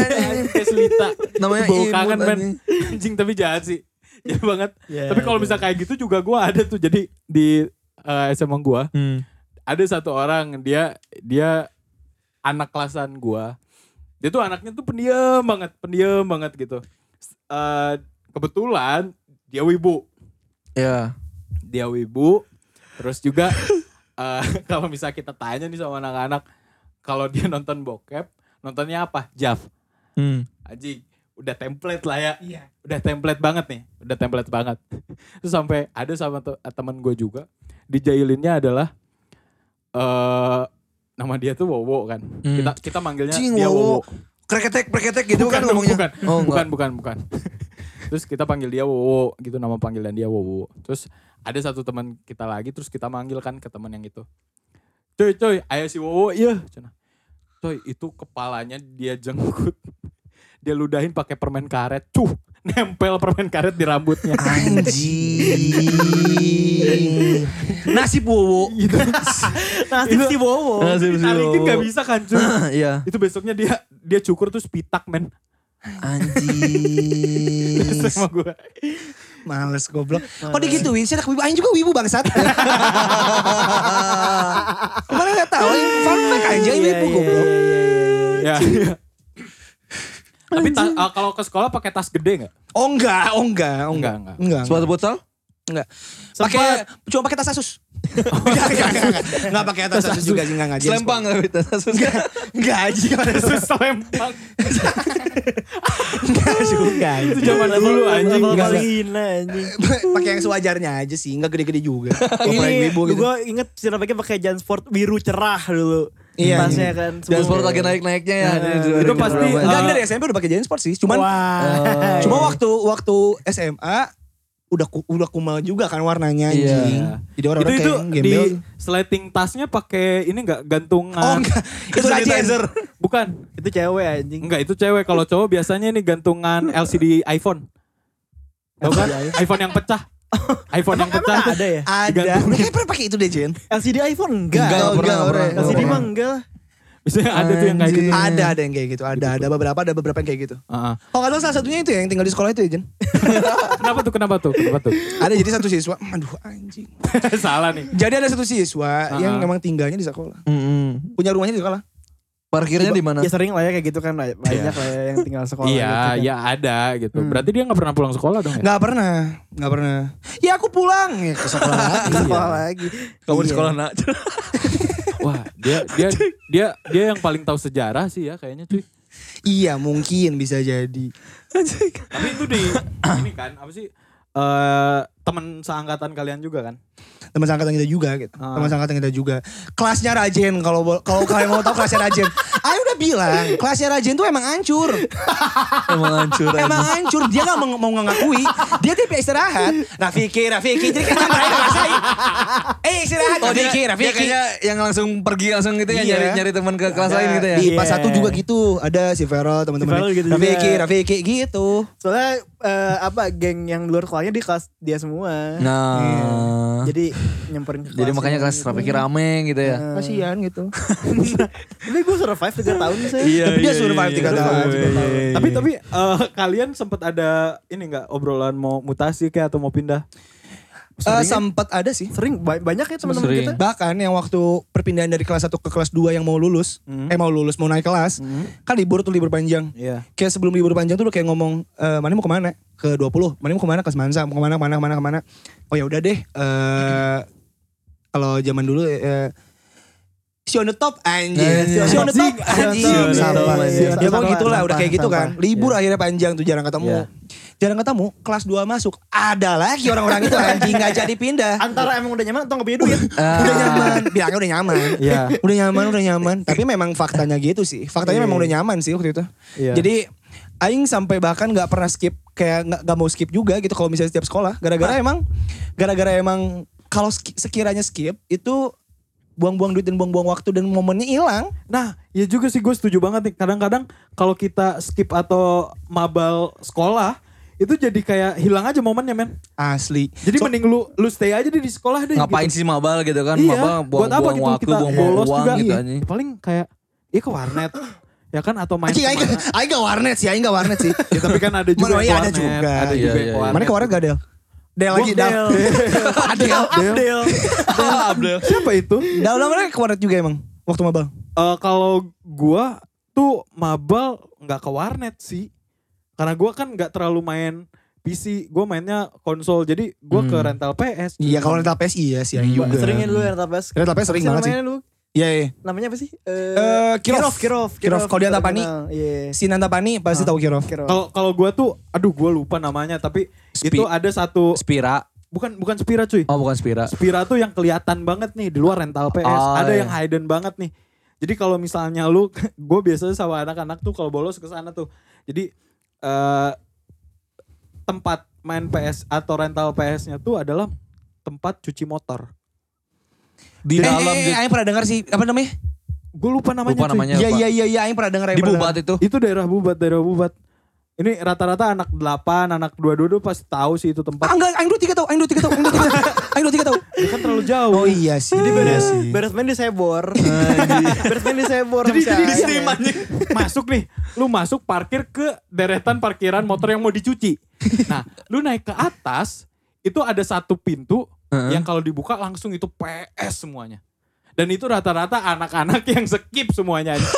C: keslita.
B: Namanya
C: bau
B: imut,
C: kangen men.
B: anjing.
C: Anjing tapi jahat sih. Jahat banget.
A: Iya,
D: Ya,
C: tapi kalau bisa kayak gitu juga gue ada tuh jadi di eh, SMA gue ada satu orang dia dia anak kelasan gua dia tuh anaknya tuh pendiam banget pendiam banget gitu S- eh, kebetulan dia wibu
B: Ya.
C: dia wibu terus juga eh, kalau misalnya kita tanya nih sama anak-anak kalau dia nonton bokep nontonnya apa Jaf
B: Hmm.
C: Aji udah template lah ya udah template banget nih udah template banget terus sampai ada sama te- teman gue juga dijailinnya adalah eh nama dia tuh Wowo kan kita kita manggilnya
B: Cing,
C: dia Wowo
B: Wowo. Kreketek, kreketek
C: Iya,
B: gitu
C: bukan
B: kan
C: dong,
B: ngomongnya.
C: bukan
B: Oh,
C: bukan
B: enggak.
C: bukan bukan terus kita panggil dia Wowo gitu nama panggilan dia Wowo terus ada satu teman kita lagi terus kita manggil kan ke teman yang itu coy coy ayo si Wowo iya Cenah. coy itu kepalanya dia jenggut dia ludahin pakai permen karet cuh nempel permen karet di rambutnya
B: Iya.
E: Anjing. Nasib wowo.
D: nasib si Bowo
C: Nah, ditarikin gak bisa kan cuy
B: Iya.
C: itu besoknya dia dia cukur terus pitak men
E: Anjing.
C: sama gue
E: Males goblok. Oh, Kok digituin sih anak wibu? Aing juga wibu bangsat. Kemarin gak tau, fun fact aja ini wibu goblok.
C: ya, ya. tapi ta- eh, kalau ke sekolah pakai tas gede nggak
E: Oh enggak, oh enggak, oh
C: Enggak,
E: enggak.
C: enggak.
E: Enggak,
B: Sepatu futsal?
E: enggak. Pakai, cuma pakai tas Asus. Enggak, enggak, enggak, enggak. Enggak pakai tas Oh, Asus juga, enggak, enggak. Dia
B: Selempang gak Wita?
E: Enggak, enggak aja.
C: Terus selempang.
E: Enggak juga.
C: Itu zaman dulu anjing.
D: Level
E: Enggak,
D: paling hina anjing
E: Pakai yang sewajarnya aja sih, enggak gede-gede juga. Komplain
D: Ini
E: wibu gitu.
D: gue inget Sinabeknya pakai Jansport biru cerah dulu.
E: Iya.
D: Tasnya kan.
B: Dan
D: sebelum- Iya,
B: sport lagi naik-naiknya ya.
C: itu pasti,
D: Ah,
E: ya,
D: Iya.
E: Enggak, enggak dari SMP udah pakai Jansport sih, cuman
D: Wah.
E: Cuma waktu waktu SMA udah ku- udah kumal juga kan warnanya
B: Iya.
E: anjing. Jadi
C: itu
E: orang-orang
C: itu
E: kayak
C: di Ah,
E: gembel.
C: sliding tasnya pakai ini enggak gantungan.
E: Oh enggak, itu
C: sanitizer.
E: Rajen.
C: Bukan.
D: Itu cewek anjing.
C: Enggak, itu cewek. Kalau cowok biasanya ini gantungan LCD iPhone. Tahu kan? iPhone yang pecah. iPhone yang pecah.
D: Emang ada ya?
E: Ada.
C: Digantung.
E: Lu kayak pernah pakai itu deh, Jen.
D: LCD iPhone enggak.
B: Enggak, enggak pernah,
E: ore.
B: pernah,
D: LCD
B: pernah.
D: mah enggak lah.
C: Biasanya ada tuh yang kayak gitu.
B: Anjing.
E: Ada ada yang kayak gitu, ada ada beberapa ada beberapa yang kayak gitu.
C: Heeh.
E: Oh kalau salah satunya itu ya, yang tinggal di sekolah itu ya Jen.
C: Kenapa tuh? Kenapa tuh? Kenapa tuh?
E: Ada jadi satu siswa, aduh anjing.
C: Salah nih.
E: Jadi ada satu
C: Ah.
E: siswa yang memang tinggalnya di sekolah.
B: Mm-mm.
E: Punya rumahnya di sekolah.
B: Parkirnya di mana?
C: Oh,
D: Ya sering lah ya kayak gitu kan banyak lah ya yang tinggal sekolah.
C: Iya,
D: gitu kan.
C: ya ada gitu. Berarti dia nggak pernah pulang sekolah dong ya?
E: Gak pernah, gak pernah. Ya aku pulang ya ke sekolah lagi.
D: Sekolah lagi.
B: Kamu di
D: Iya.
B: sekolah nak.
C: Wah, dia dia dia dia yang paling tahu sejarah sih ya kayaknya cuy.
E: iya mungkin bisa jadi.
C: Tapi itu di ini kan apa sih? Eh teman seangkatan kalian juga kan?
E: Teman seangkatan kita juga gitu.
B: Ah.
E: Teman seangkatan kita juga. Kelasnya Rajen kalau bo- kalau kalian mau tahu kelasnya Rajen. Ayo udah bilang, kelasnya Rajen tuh emang hancur.
B: Emang hancur.
E: Emang hancur, dia gak meng- mau ngakui. Dia tipe istirahat. Rafiki, Rafiki. Jadi kan kita ngerasain, ngerasain. Eh istirahat,
B: Oh dia,
E: Rafiki,
B: dia
E: Rafiki.
B: kayaknya yang langsung pergi langsung gitu ya
E: Iya.
B: nyari nyari teman ke kelas lain gitu ya.
E: Di pas
D: Iya.
E: satu juga gitu, ada si Vero teman-teman.
D: Vero gitu
E: Rafiki,
D: juga.
E: Rafiki gitu.
D: Soalnya eh, apa geng yang di luar sekolahnya di kelas dia semua. Iya.
B: Nah,
D: Jadi nyamperin ke
B: jadi, makanya kelas
D: gitu.
B: pikir rame gitu ya.
D: Eh,
E: Kasihan gitu.
D: Tapi gue survive 3 tahun sih.
C: Iya,
E: Tapi dia survive tiga tahun.
C: Tapi tapi eh, kalian sempat ada ini nggak obrolan mau mutasi kayak atau mau pindah?
E: Eh, Sempat ada sih.
D: Sering ba- banyak ya teman-teman
B: Sering.
D: kita.
E: Iya, Bahkan yang waktu perpindahan dari kelas 1 ke kelas 2 yang mau lulus,
D: Hmm.
E: eh mau lulus, mau naik kelas, kan libur tuh libur panjang.
C: Iya.
E: Kayak sebelum libur panjang tuh udah kayak ngomong, e, mana mau kemana? Ke 20, mana mau kemana? Ke Semansa, mau kemana, kemana, kemana, kemana. Oh ya udah deh, eh kalau zaman dulu... eh Si on the top anjing.
B: Iya, iya.
E: Si on the top
D: Si on Nah, the
E: anjing.
D: top, iya,
E: Sampah.
D: iya, iya.
E: Ya pokoknya
D: Sampah,
E: gitulah udah kayak
D: sampah,
E: gitu kan.
D: sampah. Iya.
E: Libur akhirnya panjang tuh jarang ketemu. Jarang ketemu, kelas 2 masuk. Ada lagi orang-orang itu anjing nggak jadi pindah
D: Antara emang udah nyaman atau gak punya duit.
E: udah nyaman bilangnya udah nyaman
C: Iya.
E: udah nyaman udah nyaman tapi memang faktanya gitu sih faktanya memang udah nyaman sih waktu itu
C: Iya.
E: jadi Aing sampai bahkan nggak pernah skip kayak nggak nggak mau skip juga gitu kalau misalnya setiap sekolah gara-gara
C: Ah.
E: emang gara-gara emang kalau ski- sekiranya skip itu buang-buang duit dan buang-buang waktu dan momennya hilang
C: Nah, ya juga sih gue setuju banget nih. Kadang-kadang kalau kita skip atau mabal sekolah itu jadi kayak hilang aja momennya men.
E: asli
C: Jadi mending lu lu stay aja deh di sekolah deh.
B: Ngapain
C: gitu.
B: sih mabal gitu kan?
C: Iya,
B: mabal
C: buat apa
B: buang-buang
C: gitu
B: waktu,
C: kita
B: buang-buang
C: bolos
B: uang
C: juga.
B: gitu
C: Iya.
B: anjing.
C: Paling kayak ya ke warnet ya kan atau main
E: Anjing Aing,
C: kemana.
E: Aing gak warnet sih, Aing gak warnet sih.
C: Ya, tapi kan ada juga yang
E: Mana, iya, ada
C: warnet,
E: juga.
C: ada juga
B: Iya,
C: yang
B: iya, iya.
E: Mana ke warnet gak Del? Del lagi, Del.
D: Del.
E: Adel.
D: Del.
C: Siapa itu?
E: Del, Del mana ke warnet juga emang? Waktu mabal.
C: Eh, kalau gua tuh mabal nggak ke warnet sih. Karena gua kan nggak terlalu main PC, gua mainnya konsol. Jadi gua
B: Hmm.
C: ke rental PS.
E: Iya kalau rental PS iya sih Aing juga.
D: Seringnya ya dulu yang tapes.
E: Rental PS sering banget sih.
D: Namanya lu
E: Iya iya.
D: namanya apa sih?
E: Eh, Kirov.
D: Kirov.
E: Kirov. Kalau dia Tapani.
D: terkenal. Iya.
E: Si Nantapani pasti tahu Kirov.
D: Kirov.
C: Kalau kalau gua tuh aduh gua lupa namanya tapi
B: Spi-
C: itu ada satu
B: Spira.
C: bukan bukan Spira cuy.
B: Oh bukan Spira.
C: Spira tuh yang kelihatan banget nih di luar rental PS.
B: Oh,
C: ada
B: iya.
C: yang hidden banget nih. Jadi kalau misalnya lu gue biasanya sama anak-anak tuh kalau bolos ke sana tuh. Jadi eh tempat main PS atau rental PS-nya tuh adalah tempat cuci motor.
B: Di
E: Eh,
B: dalam
E: eh, eh, Aing pernah dengar sih apa namanya?
C: Gue lupa namanya.
B: Lupa
C: cuy.
B: namanya.
E: Iya
B: lupa.
E: iya iya iya Aing pernah dengar. Aing
B: Di
E: pernah
B: Bubat itu.
C: Itu daerah bubat, daerah bubat. Ini rata-rata anak 8, anak 22 pasti tahu sih itu
E: dengar.
C: tempat.
E: Ah, enggak, Aing dua tiga tahu, Aing dua tiga tahu, Aing dua tiga tahu, Aing dua tiga tahu.
C: kan terlalu jauh.
E: Oh iya sih.
D: Jadi
E: iya
D: beres,
E: sih.
D: beres main di sebor. beres main di sebor.
C: Jadi,
D: sama
C: jadi di
D: si Aing.
C: steam anjing. Masuk nih, lu masuk parkir ke deretan parkiran motor yang mau dicuci. Nah, lu naik ke atas, itu ada satu pintu yang kalau dibuka langsung itu PS semuanya. Dan itu rata-rata anak-anak yang skip semuanya. anjing.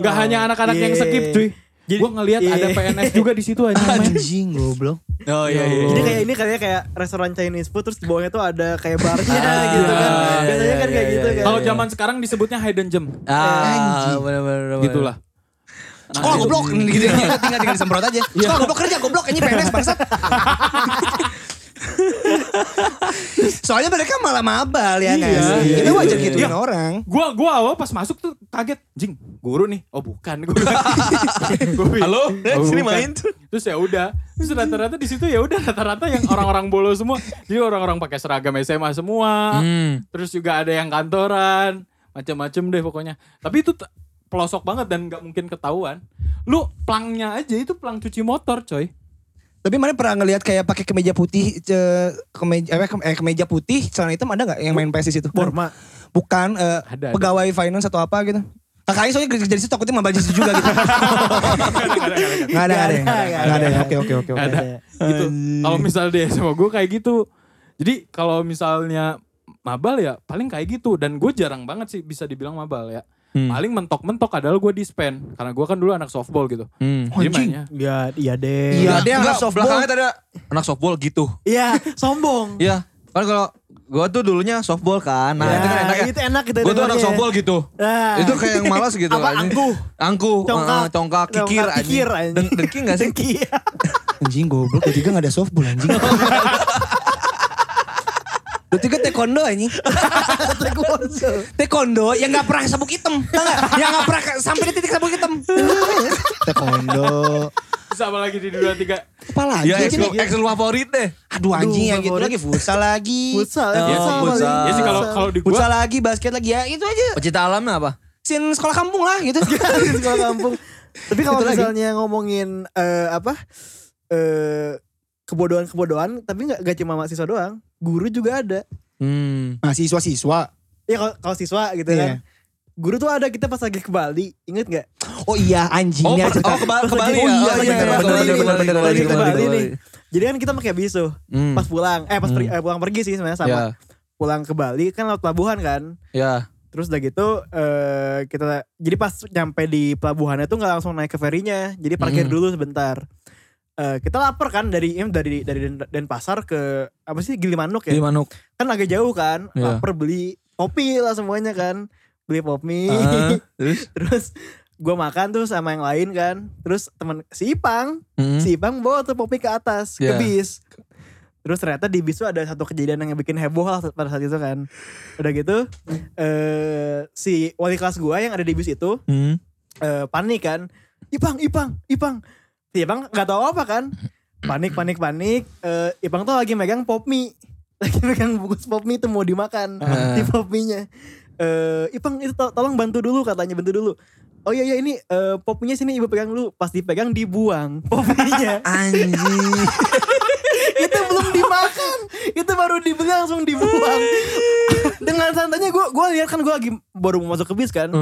C: Nggak hanya anak-anak yang skip, cuy.
D: Oh, iya. Jadi-
C: Gua ngelihat ada
D: iya.
C: PNS juga di situ aja.
E: Anjing goblok.
B: Oh iya iya.
D: Jadi kayak ini kayak kayak restoran Chinese food terus di bawahnya tuh ada kayak barnya gitu kan.
B: iya, iya,
D: Biasanya kan
B: iya,
D: kayak
B: iya,
D: gitu
B: iya.
D: kan.
C: Kalau zaman sekarang disebutnya hidden gem.
B: Ah,
D: Oh, iya.
B: benar-benar.
C: Gitulah.
E: Sekolah goblok gitu.
B: Iya.
E: Tinggal Iya. tinggal disemprot aja. Sekolah goblok kerja goblok ini PNS bangsat. Soalnya mereka malah mabal ya
C: Iya,
E: Nas.
C: iya,
E: Kita
C: iya.
E: wajar gituin
C: Iya.
E: orang.
C: Gua gua awal pas masuk tuh kaget, jing guru nih. Oh bukan, gua. Gua bi-
A: Halo, Eh,
C: Oh,
A: sini
C: bukan.
A: main tuh.
C: Terus ya udah, terus rata-rata di situ ya udah rata-rata yang orang-orang bolo semua. Jadi orang-orang pakai seragam SMA semua.
B: Hmm.
C: Terus juga ada yang kantoran, macam-macam deh pokoknya. Tapi itu t- pelosok banget dan nggak mungkin ketahuan. Lu plangnya aja itu plang cuci motor, coy.
E: Tapi mana pernah ngelihat kayak pakai kemeja putih, ce- kemeja, eh, kem- eh, kemeja putih, celana hitam ada nggak yang main PS di situ?
D: Borma.
E: Bukan eh,
C: Ada, ada.
E: pegawai finance atau apa gitu. Kakaknya soalnya kerja di situ takutnya mabal jis juga gitu. Nggak ada, nggak ada, nggak ada, nggak ada. ya? Oke, oke, oke. oke.
C: ada gitu. Kalau misal di SMA gue kayak gitu. Jadi kalau misalnya mabal ya paling kayak gitu dan gue jarang banget sih bisa dibilang mabal ya. Paling mentok-mentok adalah gue dispen karena gue kan dulu anak softball gitu.
B: Hmm.
C: Jadi
E: Anjing.
C: mainnya
D: Iya, iya deh.
E: Iya,
B: Ada yang
E: enggak,
B: anak softball. Belakangnya ada anak softball gitu.
D: Iya, sombong.
B: Iya. Kan kalau gua tuh dulunya softball kan.
D: Ya,
B: Nah, itu kan enak ya.
D: Itu enak kita
B: Gua tuh anak
D: dengarnya.
B: softball gitu.
D: Ah.
B: Itu kayak yang malas gitu.
D: Apa,
B: anjing.
D: angkuh?
B: Angkuh.
D: Congkak.
B: eh, congkak, kikir
D: Congkak, kikir,
B: anjing.
D: anjing.
B: Deng- Dengki gak sih?
D: Iya.
E: Anjing goblok, gue tiga gak ada softball anjing. Gue tiga taekwondo anjing.
D: Taekwondo.
E: Taekwondo yang gak pernah sabuk hitam. tau nggak? Yang gak pernah ke- sampai di titik sabuk hitam. Taekwondo.
C: Terus apa lagi di dua tiga.
E: Apa lagi?
B: Ya, ex lu,
E: anjing?
B: ex lu favorit deh.
E: Aduh anjing yang gitu
D: favorit.
E: lagi futsal lagi.
D: Futsal, ya,
E: Oh,
C: ya sih,
B: futsal.
C: ya sih kalau kalau di gue
E: Futsal lagi, basket lagi ya itu aja.
B: Pecinta alamnya apa?
E: Sin sekolah kampung lah gitu.
D: Di sekolah kampung. Tapi kalau
E: Itu lagi.
D: misalnya ngomongin eh, apa eh kebodohan-kebodohan, tapi nggak nggak cuma mahasiswa doang, guru juga ada.
B: Hmm.
E: Nah siswa-siswa.
D: Ya kalau- kalau siswa gitu kan.
E: Iya.
D: Guru tuh ada kita pas lagi ke Bali, inget nggak?
E: Oh iya anjing.
B: Oh,
E: Ini
B: per,
E: cerita.
B: oh ke Bali, ke
D: Oh,
B: Bali ya.
D: iya,
B: Oh,
D: iya, iya,
B: bener, bener,
D: iya,
B: bener,
D: iya,
B: bener, bener,
D: Pas lagi
B: bener,
D: ke
B: bener,
D: Bali
B: bener.
D: nih. Jadi kan kita pakai bisu
B: Hmm.
D: pas pulang, eh pas pergi-
B: Hmm.
D: eh, pulang pergi sih sebenarnya sama.
B: Ya.
E: Iya.
D: Pulang ke Bali kan laut pelabuhan kan.
B: Ya.
D: Terus udah gitu eh kita jadi pas nyampe di pelabuhannya tuh nggak langsung naik ke ferinya, jadi parkir
B: Mm.
D: dulu sebentar. Eh kita lapar kan dari em, dari dari Den- Denpasar ke apa sih Gilimanuk ya?
B: Di Manuk.
D: Kan agak jauh kan.
B: Iya.
D: Lapar beli kopi lah semuanya kan. Beli pop mie.
B: Ah, Terus?
D: terus gue makan tuh sama yang lain kan. Terus teman si Ipang,
B: Hmm.
D: si Ipang bawa tuh pop mie ke atas,
B: Iya.
D: ke bis. Terus ternyata di bis tuh ada satu kejadian yang bikin heboh lah pada saat itu kan. Udah gitu eh si wali kelas gua yang ada di bis itu
B: Hmm.
D: eh panik kan. Ipang, Ipang, Ipang. Si Ipang gak tahu apa kan. Panik, panik, panik. Eh Ipang tuh lagi megang pop mie. Lagi megang bungkus pop mie tuh mau dimakan.
B: Ah.
D: Di pop mie-nya. Eh, Ipang itu to- tolong bantu dulu katanya, bantu dulu. Oh iya iya ini eh, pop mie-nya sini ibu pegang dulu. Pas dipegang dibuang pop mie-nya.
B: Anjing.
D: itu belum dimakan. Itu baru dibeli langsung dibuang. Dengan santainya gue gue lihat kan gue lagi baru mau masuk ke bis kan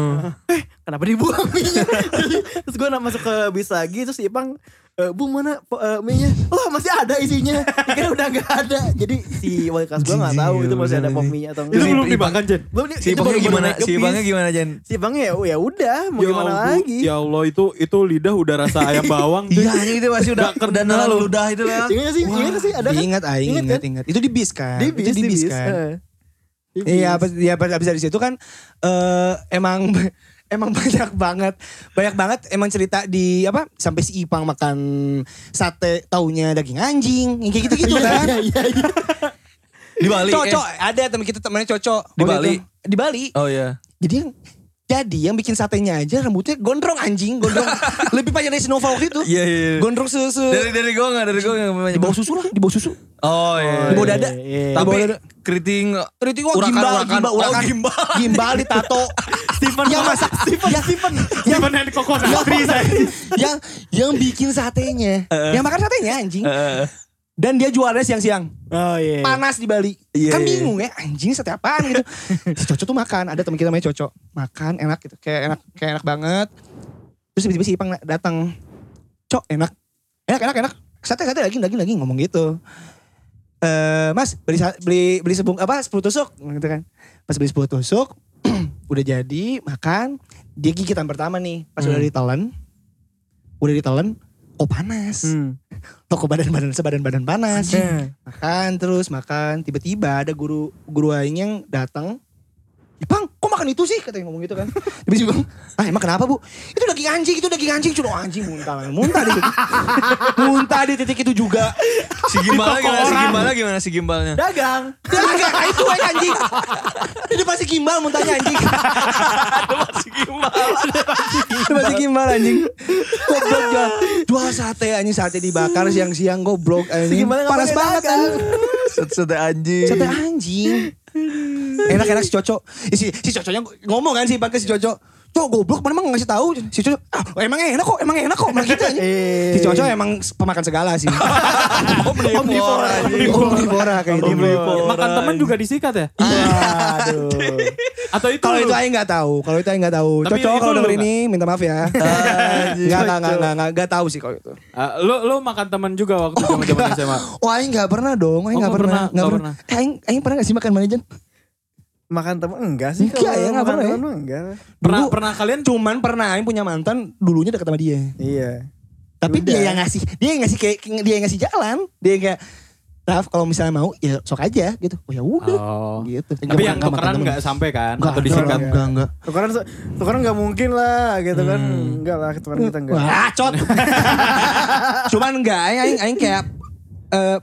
D: kenapa dibuang mie-nya? terus gue masuk ke bis lagi terus si Ipang e, bu mana po- e, mie-nya? Wah masih ada isinya, kan udah nggak ada. Jadi si wali kelas gue nggak tahu itu masih ada pop mie-nya atau enggak.
C: itu belum dimakan Jen.
D: belum di-
B: Si
D: itu
B: Bangnya
D: baru-baru
B: gimana?
D: naik ke
B: Si
D: bis.
B: Bangnya gimana, Jen?
D: Si Ipangnya ya, ya udah mau gimana
C: Allah,
D: lagi?
C: Ya Allah itu itu lidah udah rasa ayam bawang. Jen.
B: Iya, anjing itu pasti udah udah nalar ludah itu lah.
D: Ingat Iya sih,
E: Wah,
D: ingat sih ada kan?
E: Ingat aing,
D: Ingat
E: ingat, ingat, Itu di bis kan?
D: Di bis,
E: itu
D: di bis.
E: kan?
D: eh. Di bis.
E: Iya, pas ya pas abis dari situ kan eh emang emang banyak banget banyak banget emang cerita di apa sampai si Ipang makan sate taunya daging anjing yang kayak
D: Iya,
E: gitu-gitu kan.
B: Di Bali. eh.
E: Cocok ada teman kita temannya cocok
B: Di
E: Oh,
B: Bali?
E: gitu. Di Bali.
B: Oh iya.
E: Jadi yang jadi yang bikin satenya aja rambutnya gondrong anjing, gondrong lebih panjang dari Sinova waktu itu.
B: Iya, iya, iya.
E: Gondrong se, se
B: Dari dari gue nggak dari gue nggak
E: di bawah susu lah, di bawah susu.
B: Oh iya.
E: Di bawah dada. Di
B: Tapi
E: bawah dada.
B: keriting
E: Keriting wah
B: Urakan,
E: gimbal,
B: urakan.
E: gimbal,
B: Oh,
E: urakan.
B: gimbal.
E: Gimbal ditato. Stephen yang masak Stephen, Stephen, yang
C: Gimana yang kokos
E: yang,
C: asli, Jen?
E: yang yang bikin satenya, yang makan satenya anjing. Dan dia jualnya siang-siang,
D: Oh iya.
E: panas di Bali.
B: Iya,
E: kan
B: iya.
E: bingung ya, anjing sate apaan gitu. si Coco tuh makan, ada teman kita namanya Coco. Makan enak gitu, kayak enak kayak enak banget. Terus tiba-tiba si Ipang na- datang. Cok enak, enak enak enak. Sate sate daging daging daging ngomong gitu. Eh mas beli sa- beli beli sebung apa 10 tusuk gitu kan. Pas beli 10 tusuk udah jadi makan dia gigitan pertama nih pas udah ditelan udah ditelan oh panas
D: Hmm.
E: oh kok badan badan sebadan badan panas makan terus makan tiba-tiba ada guru guru lain yang datang Bang, kok makan itu sih? Katanya ngomong gitu kan. Tapi si Bang, ah emang kenapa bu? Itu daging anjing, itu daging anjing. Cuma "Oh, anjing muntah. lah." Muntah di titik. muntah di titik itu juga.
B: Si gimbalnya gimana, si gimbalnya gimana, si gimbalnya.
D: Dagang.
E: Ya enggak, itu woy, anjing. Ini pasti gimbal muntahnya anjing. Itu pasti gimbal anjing. Goblok jual, jual sate anjing, sate dibakar siang-siang goblok anjing.
D: Gimana
E: Panas banget anjing.
B: Sete anjing.
E: Sate anjing. Enak-enak si Coco. Eh, Si, si Coconya ngomong kan si pakai si Coco. Cok goblok mana emang ngasih tahu si Coco. Ah, emang enak kok, emang enak kok. Emang gitu anjing. Si Coco emang pemakan segala sih.
B: Eh. Omnivora anjing.
E: Omnivora kayak gitu.
G: Makan teman juga disikat ya?
E: Waduh.
C: Atau itu
E: Kalau itu aing nggak tahu, kalau itu aing nggak tahu.
C: Tapi
E: Cocok
C: itu
E: kalau
C: lu
E: denger
C: nggak?
E: ini minta maaf ya. Enggak enggak enggak enggak enggak tahu sih kalau itu.
C: Eh, lo lo makan teman juga waktu zaman-zaman SMA.
E: Oh aing nggak pernah dong,
C: Oh,
E: aing
C: nggak
E: nggak pernah,
C: pernah,
E: nggak
C: nggak
E: pernah. Eh, aing aing pernah nggak sih makan manajer?
D: Makan temen enggak sih?
E: Enggak
D: kalau
E: ya, enggak
D: makan
E: pernah ya.
D: temen mah enggak.
C: Pernah
E: Dulu-
C: pernah kalian
E: Cuman pernah aing punya mantan dulunya deket sama dia.
D: Iya.
E: Tapi
D: Udah.
E: dia yang ngasih, dia yang ngasih kayak dia yang ngasih jalan, dia yang kayak Raf kalau misalnya mau ya sok aja gitu. Oh ya udah.
C: Oh.
E: Gitu.
C: Tapi yang tukeran nggak sampai kan?
E: Enggak,
C: Atau disikat?
E: enggak, enggak, enggak.
D: Tukaran, tukaran gak mungkin lah gitu kan. Enggak lah, tukaran kita enggak.
E: Hmm. Wah, cot. Cuman enggak, aing aing, aing kayak eh,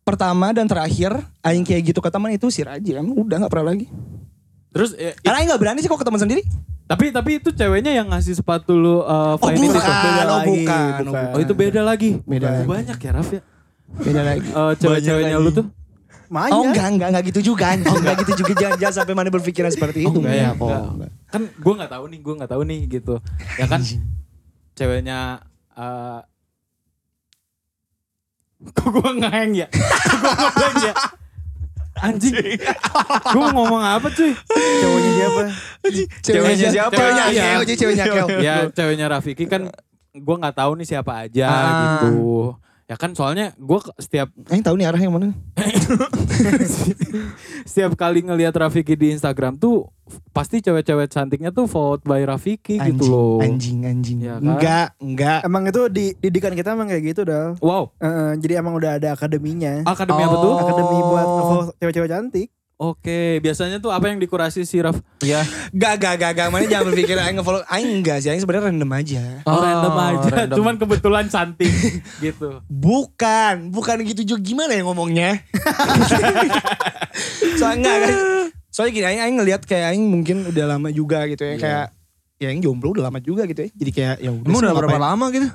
E: pertama dan terakhir aing kayak gitu ke teman itu si Raji kan udah nggak pernah lagi.
C: Terus eh, i-
E: Karena aing nggak berani sih kok ke teman sendiri.
C: tapi tapi itu ceweknya yang ngasih sepatu lu eh,
E: Oh,
C: Vine itu.
E: bukan. oh,
D: lagi,
E: bukan, oh,
D: bukan.
C: Oh, itu beda lagi. Oh,
E: Beda
C: Banyak ya Raf ya.
E: Beda lagi.
C: Eh, cewek-ceweknya lu tuh.
D: Maya.
E: Oh enggak, enggak, enggak gitu juga. anjing. enggak gitu juga jangan jangan sampai mana berpikiran seperti itu.
C: Enggak ya,
E: Oh,
C: enggak.
E: enggak.
C: Kan gue nggak tahu nih, gue nggak tahu nih gitu. Ya kan ceweknya eh kok gue ngeheng ya? Kok gue ngeblank ya? Anjing. gue ngomong apa cuy?
D: Cowoknya siapa?
B: Ceweknya siapa?
E: Ceweknya
C: Iya.
E: Akeo, jadi ceweknya Akeo.
C: ya ceweknya Rafiki kan gue nggak tahu nih siapa aja
B: Ah.
C: gitu. Ya kan soalnya gue setiap
E: Aing tahu nih arahnya yang mana.
C: setiap kali ngelihat Rafiki di Instagram tuh pasti cewek-cewek cantiknya tuh vote by Rafiki gitu loh.
E: Anjing, anjing.
C: Iya kan?
E: Enggak, enggak.
D: Emang itu di didikan kita emang kayak gitu dal.
C: Wow,
D: Heeh, jadi emang udah ada akademinya.
C: akademi apa
E: Oh.
C: tuh?
D: Akademi buat ngefollow cewek-cewek cantik.
C: Oke, biasanya tuh apa yang dikurasi si Raf?
B: Iya.
E: Enggak, enggak, enggak, enggak. Mana jangan berpikir aing nge-follow. Aing enggak sih, aing sebenarnya random aja.
C: Oh, random aja,
B: random.
C: cuman kebetulan cantik gitu.
E: Bukan, bukan gitu juga gimana ya ngomongnya? Soalnya enggak kan. Soalnya gini, Aing, Aing ngelihat kayak Aing mungkin udah lama juga gitu ya. Kayak ya Aing jomblo udah lama juga gitu ya. Jadi kayak ya udah.
B: Iya. Emang
E: sih,
B: udah berapa
E: ngapain.
B: lama gitu?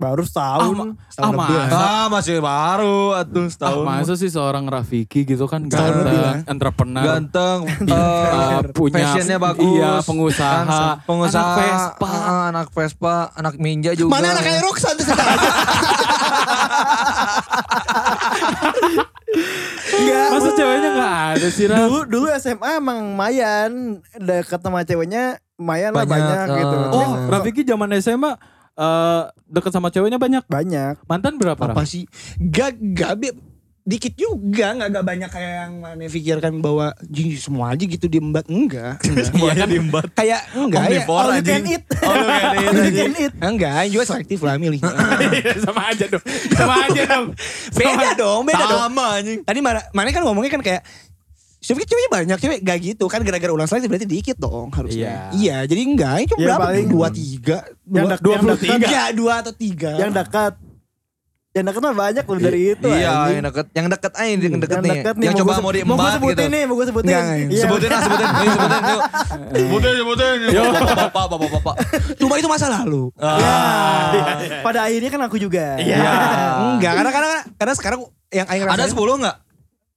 D: Baru setahun.
E: Setahun
C: Ah,
E: lebih lah.
B: Ah masih baru atuh
C: Ah,
B: setahun.
C: masa sih seorang Rafiki gitu kan
E: Setahun lebih lah.
C: ganteng, entrepreneur,
B: Ganteng, eh,
C: eh, punya
B: Nah, fashionnya bagus.
C: Iya, pengusaha,
B: Ah, pengusaha,
C: anak Vespa.
B: ah, anak Vespa, anak Ninja juga.
E: Mana anak kayak Roxanne tuh sekarang? Iya.
C: Masa ceweknya gak ada sih Raf?
D: Dulu dulu SMA emang Mayan deket sama ceweknya Mayan lah
B: Banyak,
D: banyak gitu.
B: eh.
C: Oh,
E: Nah.
D: Tapi
C: Rafiki zaman SMA eh deket sama ceweknya banyak.
D: banyak.
C: Mantan berapa Raf?
E: Apa sih? Gak, gak, Beb. dikit juga nggak nggak banyak kayak yang mana pikirkan bahwa "Jing, semua aja gitu diembat enggak, enggak.
B: Semuanya diembat.
E: kayak enggak ya
B: Omnivora,
D: All you
B: anjing.
D: can eat.
B: All you can eat,
D: All you
B: anjing.
D: can eat.
E: enggak Aing juga selektif lah milih
C: Iya, sama aja dong. Sama aja dong.
E: beda dong beda dong
B: Sama anjing.
E: Tadi mana, mana kan ngomongnya kan kayak Cewek ceweknya banyak cewek gak gitu kan gara-gara ulang selektif berarti dikit dong
C: Iya.
E: harusnya. Iya, jadi enggak, ini cuma
D: Ya,
E: berapa?
D: paling-
E: dua tiga,
D: Yang
E: dua,
D: dek- yang dekat.
E: Iya, dua atau tiga.
D: Yang dekat. Yang dekat mah banyak loh dari itu.
B: Ah. Iya,
D: anjing.
B: yang deket, yang deket aja, yang deket
D: yang
B: nih.
D: deket nih.
B: Yang coba
D: gua-
B: mau
D: Mau gue
B: diembat
D: sebutin
B: gitu.
D: nih, mau gue sebutin.
E: Enggak, enggak.
D: Iya.
B: Sebutin lah, sebutin, Ini sebutin, yuk. Sebutin, sebutin. Yo, bapak, bapak, bapak.
E: Cuma itu masa lalu.
D: Ah.
B: Iya.
D: Ya. Pada akhirnya kan aku juga.
E: Ya. Enggak, karena, karena karena sekarang yang aing
B: Ada
E: rasain-
B: 10 nggak?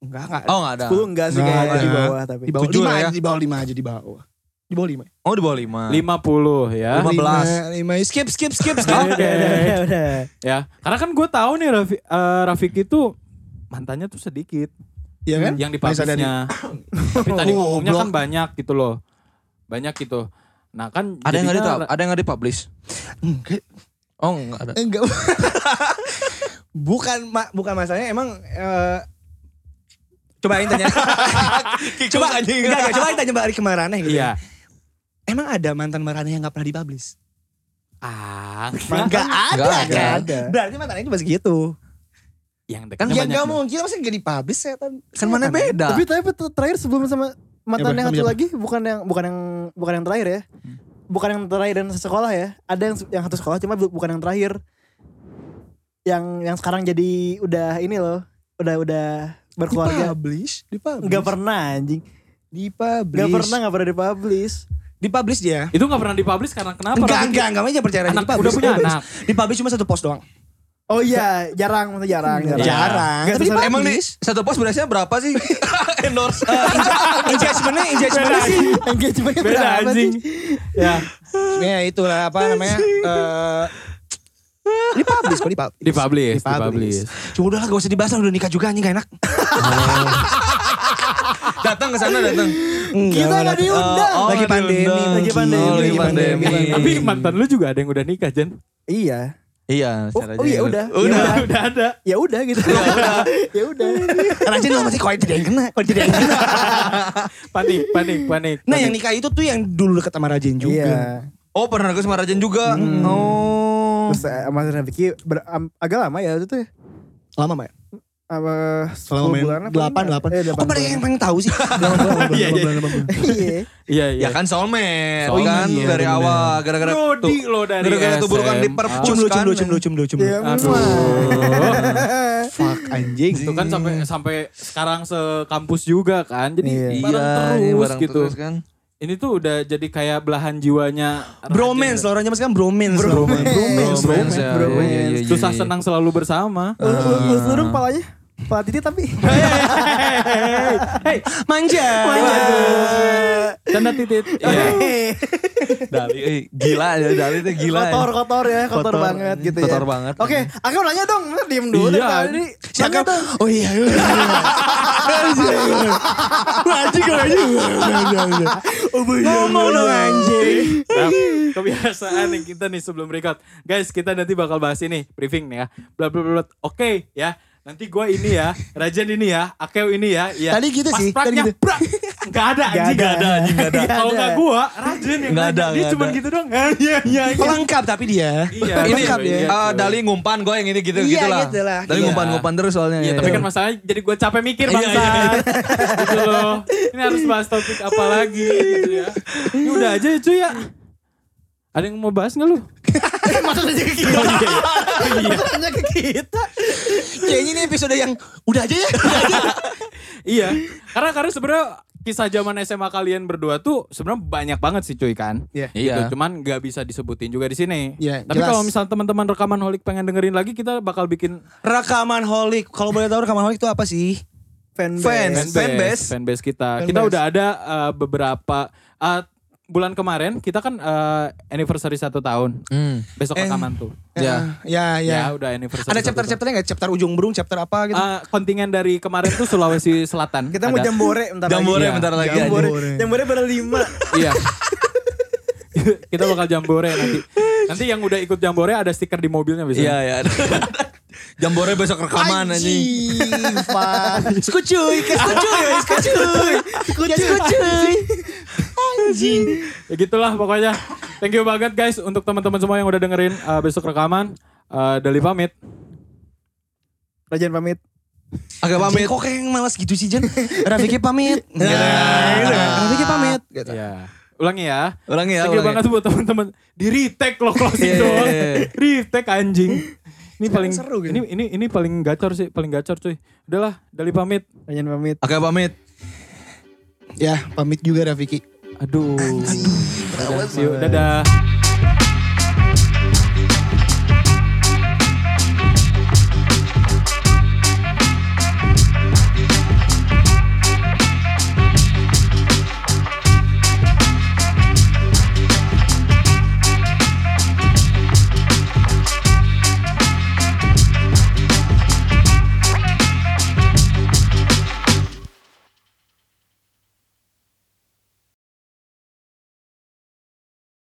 E: Enggak, enggak.
B: Oh nggak ada.
D: Sepuluh enggak sih
E: Enggak,
D: kayaknya di
E: enggak.
D: bawah tapi.
E: Di bawah
B: Tujuh
E: lima
B: lah ya.
E: aja, di bawah lima aja di bawah. Di bawah lima.
B: Oh di bawah 5.
C: 50 ya.
B: Lima. 15.
E: Lima, lima. Skip, skip, skip, skip.
D: Udah, udah, udah, udah.
C: Ya, karena kan gue tahu nih Rafi, eh, Rafiki tuh mantannya tuh sedikit.
E: Iya kan?
C: Yang di
E: Manis ada di-
C: papisnya. Tapi tadi
E: Oh,
C: ngomongnya
E: blok.
C: kan banyak gitu loh. Banyak gitu. Nah kan
B: Ada yang nggak
C: jadinya
B: di ada yang nggak dipublish?
E: Enggak.
B: Oh nggak ada.
E: Enggak. bukan ma- bukan masalahnya emang eh, coba Aing tanya. coba enggak, enggak, coba Aing tanya Mbak Ari Maraneh gitu.
C: Iya.
E: Emang ada mantan Maraneh yang enggak pernah dipublish?
C: Ah,
E: Enggak ada
B: Nggak ada.
E: kan?
D: Ada.
E: Berarti mantannya itu masih gitu.
C: yang dekatnya
E: Kan ya
C: banyak. gitu.
E: enggak
C: dong.
E: mungkin masa enggak dipublish setan.
B: Kan mana beda.
D: Tapi tapi ter- terakhir sebelum sama mantan
H: Siapa?
D: yang
H: Sama
D: satu
H: siapa?
D: lagi bukan yang bukan yang bukan yang terakhir ya.
B: Hmm.
D: Bukan yang terakhir dan sekolah ya. Ada yang yang satu sekolah cuma bu- bukan yang terakhir. Yang yang sekarang jadi udah ini loh. Udah udah berkeluarga.
E: Dipublish, dipublish.
D: Gak pernah anjing.
E: dipublish.
D: Gak pernah gak pernah dipublish.
E: Dipublish dia.
C: Itu gak pernah dipublish karena kenapa?
E: Enggak,
C: Robin?
E: enggak, enggak, enggak percaya aja.
C: Anak-
E: Dipublish,
C: udah punya
E: dipublish.
C: anak.
E: Dipublish cuma satu post doang.
D: Oh iya, jarang maksudnya jarang,
E: Iya.
D: jarang.
E: Jarang.
D: Nggak
E: Tapi
D: terserah.
B: Emang nih satu pos berasnya berapa sih? Endorse.
E: Engagementnya, engagementnya sih.
D: Engagementnya
C: Beda
D: berapa sih?
C: anjing. ya,
E: Ya itulah apa namanya. eh, Dipublish kok dipublish.
C: dipublish,
E: Dipublish.
C: dipublish.
E: Cuma udahlah gak usah dibahas lah udah nikah juga anjing gak enak.
B: datang ke sana datang.
D: Kita gak
E: Enggak,
D: diundang.
B: Oh,
E: lagi
B: nggak
E: pandemi,
B: diundang.
E: lagi pandemi,
B: Oh, lagi
E: lagi pandemi.
B: pandemi.
C: Tapi mantan lu juga ada yang udah nikah, Jen.
D: Iya.
B: Iya, kan?
D: Oh,
B: secara
D: oh iya
B: jujur.
D: udah.
B: Udah.
D: Ya udah ada. Ya udah gitu. ya udah.
E: Kan Raja dulu masih kok tidak yang kena, kok tidak yang kena.
C: Panik, panik, panik.
E: Nah yang nikah itu tuh yang dulu deket sama Rajen juga.
D: Iya.
B: Oh, pernah ke sama Rajen juga. Oh.
D: Terus eh, sama Mas Rafiki ber- am- agak lama ya itu tuh.
E: Lama mbak? Oh,
D: Apa
H: Selama
D: 10
H: main
D: bulan apa
E: Delapan,
D: enggak?
E: delapan.
D: Eh,
E: Kok pada yang pengen tahu sih?
H: Iya,
D: Iya.
C: Iya, iya.
B: Ya kan soulmate,
C: Soulmate,
B: kan
C: iya,
B: dari
C: bener-bener.
B: awal gara-gara
C: Brody
B: tuh-
C: lo dari
B: gara-gara tuburukan
C: SM.
B: di perpus
E: Cum dulu, cum
B: kan.
E: dulu, cum dulu, cum dulu, cum
D: Ya
E: dulu.
D: muah.
H: Fuck anjing.
C: Itu kan sampai sampai sekarang sekampus juga kan. Jadi
D: Iya.
B: Hmm. Iya,
C: bareng
B: ini
C: terus
B: bareng
C: gitu.
B: terus kan.
C: Ini tuh udah jadi kayak belahan jiwanya
E: Bromance
C: Rajen.
E: loh, orang zaman sekarang bromance. loh.
D: Bromance. Bromance.
B: Bromance, ya,
D: Bromance.
B: iya, iya, iya,
C: Susah
B: iya.
C: senang selalu bersama.
D: Lu- lu- Lu suruh kepalanya. Kepala titik tapi.
E: Manja.
C: Canda titit. Iya.
B: Dali, eh, gila ya, Dali itu gila. ya.
D: kotor kotor ya kotor,
B: Kotor.
D: banget gitu ya
B: Kotor banget.
D: oke aku nanya dong Lu diem dulu kan?
C: Iya.
D: tadi nanya
E: Siapa?
D: dong
E: Oh iya. Anjing kalau anjing. Oh, iya, Ngomong dong anjing.
C: Nah, kebiasaan nih kita nih sebelum record. Guys, kita nanti bakal bahas ini briefing nih ya. Bla bla bla. bla. Oke ya. Nanti gua ini ya, Rajan ini ya, Akeo ini ya, iya.
E: Tadi gitu
C: Pas
E: sih, tadi
C: praknya,
E: gitu.
C: brak. Nggak ada
D: Nggak
C: anjing, nggak
D: ada.
C: ada anjing, nggak ada.
D: Nggak
C: Kalau
D: ada.
C: nggak gua, Rajan yang
B: Nggak
C: nanya.
B: ada,
C: Dia
B: nggak
C: cuman
B: ada.
C: gitu doang. Ah, Iya, iya, iya.
E: Pelengkap tapi dia.
C: Iya,
B: Ini
E: Lengkap ya.
B: eh, Dali ngumpan gue yang ini gitu
E: Iya,
B: gitu lah.
E: gitu lah.
B: Dali
E: Iya.
B: ngumpan-ngumpan terus soalnya.
C: Iya,
B: ya.
C: tapi kan masalahnya jadi gue capek mikir
B: Iya,
C: bangsa.
B: iya,
C: gitu loh. Ini harus bahas topik apa lagi gitu ya. Ini udah aja ya cuy ya. Ada yang mau bahas nggak lu?
D: Kan
B: Iya.
D: tanya ke kita
E: Kayaknya ini episode yang udah aja ya.
C: iya. Karena karena sebenarnya kisah zaman SMA kalian berdua tuh sebenarnya banyak banget sih cuy kan.
E: Iya.
C: Gitu,
B: Iya.
C: Cuman nggak bisa disebutin juga di sini.
E: Iya,
C: Tapi
E: jelas.
C: kalau misalnya teman-teman rekaman holik pengen dengerin lagi kita bakal bikin
E: Rekaman holik. Kalau boleh tahu rekaman holik itu apa sih?
D: fanbase
B: Fans.
C: fanbase,
B: Fanbase.
C: fanbase kita.
E: Fanbase.
C: Kita udah ada uh, beberapa uh, bulan kemarin kita kan uh, anniversary satu tahun.
B: Hmm.
C: Besok
E: Eh.
C: rekaman tuh.
B: Ya.
E: Ya,
C: Ya,
E: ya.
C: udah anniversary.
E: Ada
C: satu tahun.
E: chapter-chapternya nggak? Chapter ujung burung, chapter apa gitu?
C: Eh, kontingen dari kemarin tuh Sulawesi Selatan.
D: kita mau
C: Ada.
D: jambore bentar lagi
B: Jambore
C: Iya.
B: bentar lagi. aja.
D: jambore jambore berlima
C: Iya. kita bakal jambore nanti. Nanti yang udah ikut jambore ada stiker di mobilnya bisa.
B: Iya, iya. Jambore besok rekaman anjing.
E: Anjing,
B: Iya.
E: Pak. Skucuy, ke skucuy, skucuy. Ya skucuy. Anjing.
C: Ya gitulah pokoknya. Thank you banget guys untuk teman-teman semua yang udah dengerin eh, besok rekaman. Eh, Dali pamit.
D: Rajan pamit
B: Agak
E: Anjing,
B: pamit.
E: kok kayak yang malas gitu sih Jen? Rafiki pamit. Rafiki pamit. Nah, Gitu.
C: Iya. Ulangi ya.
B: Ulangi ya.
C: Thank you
B: ulangi.
C: banget buat teman-teman. Di retake loh closing
B: Iya,
C: doang.
B: iya, iya.
C: retake anjing. Ini paling
E: seru gitu.
C: Ini ini ini paling gacor sih, paling gacor cuy. Udahlah, Dali pamit.
D: Rajan pamit
B: Agak pamit.
H: Ya, pamit juga Rafiki.
C: Aduh. Dadah, see you. Dadah.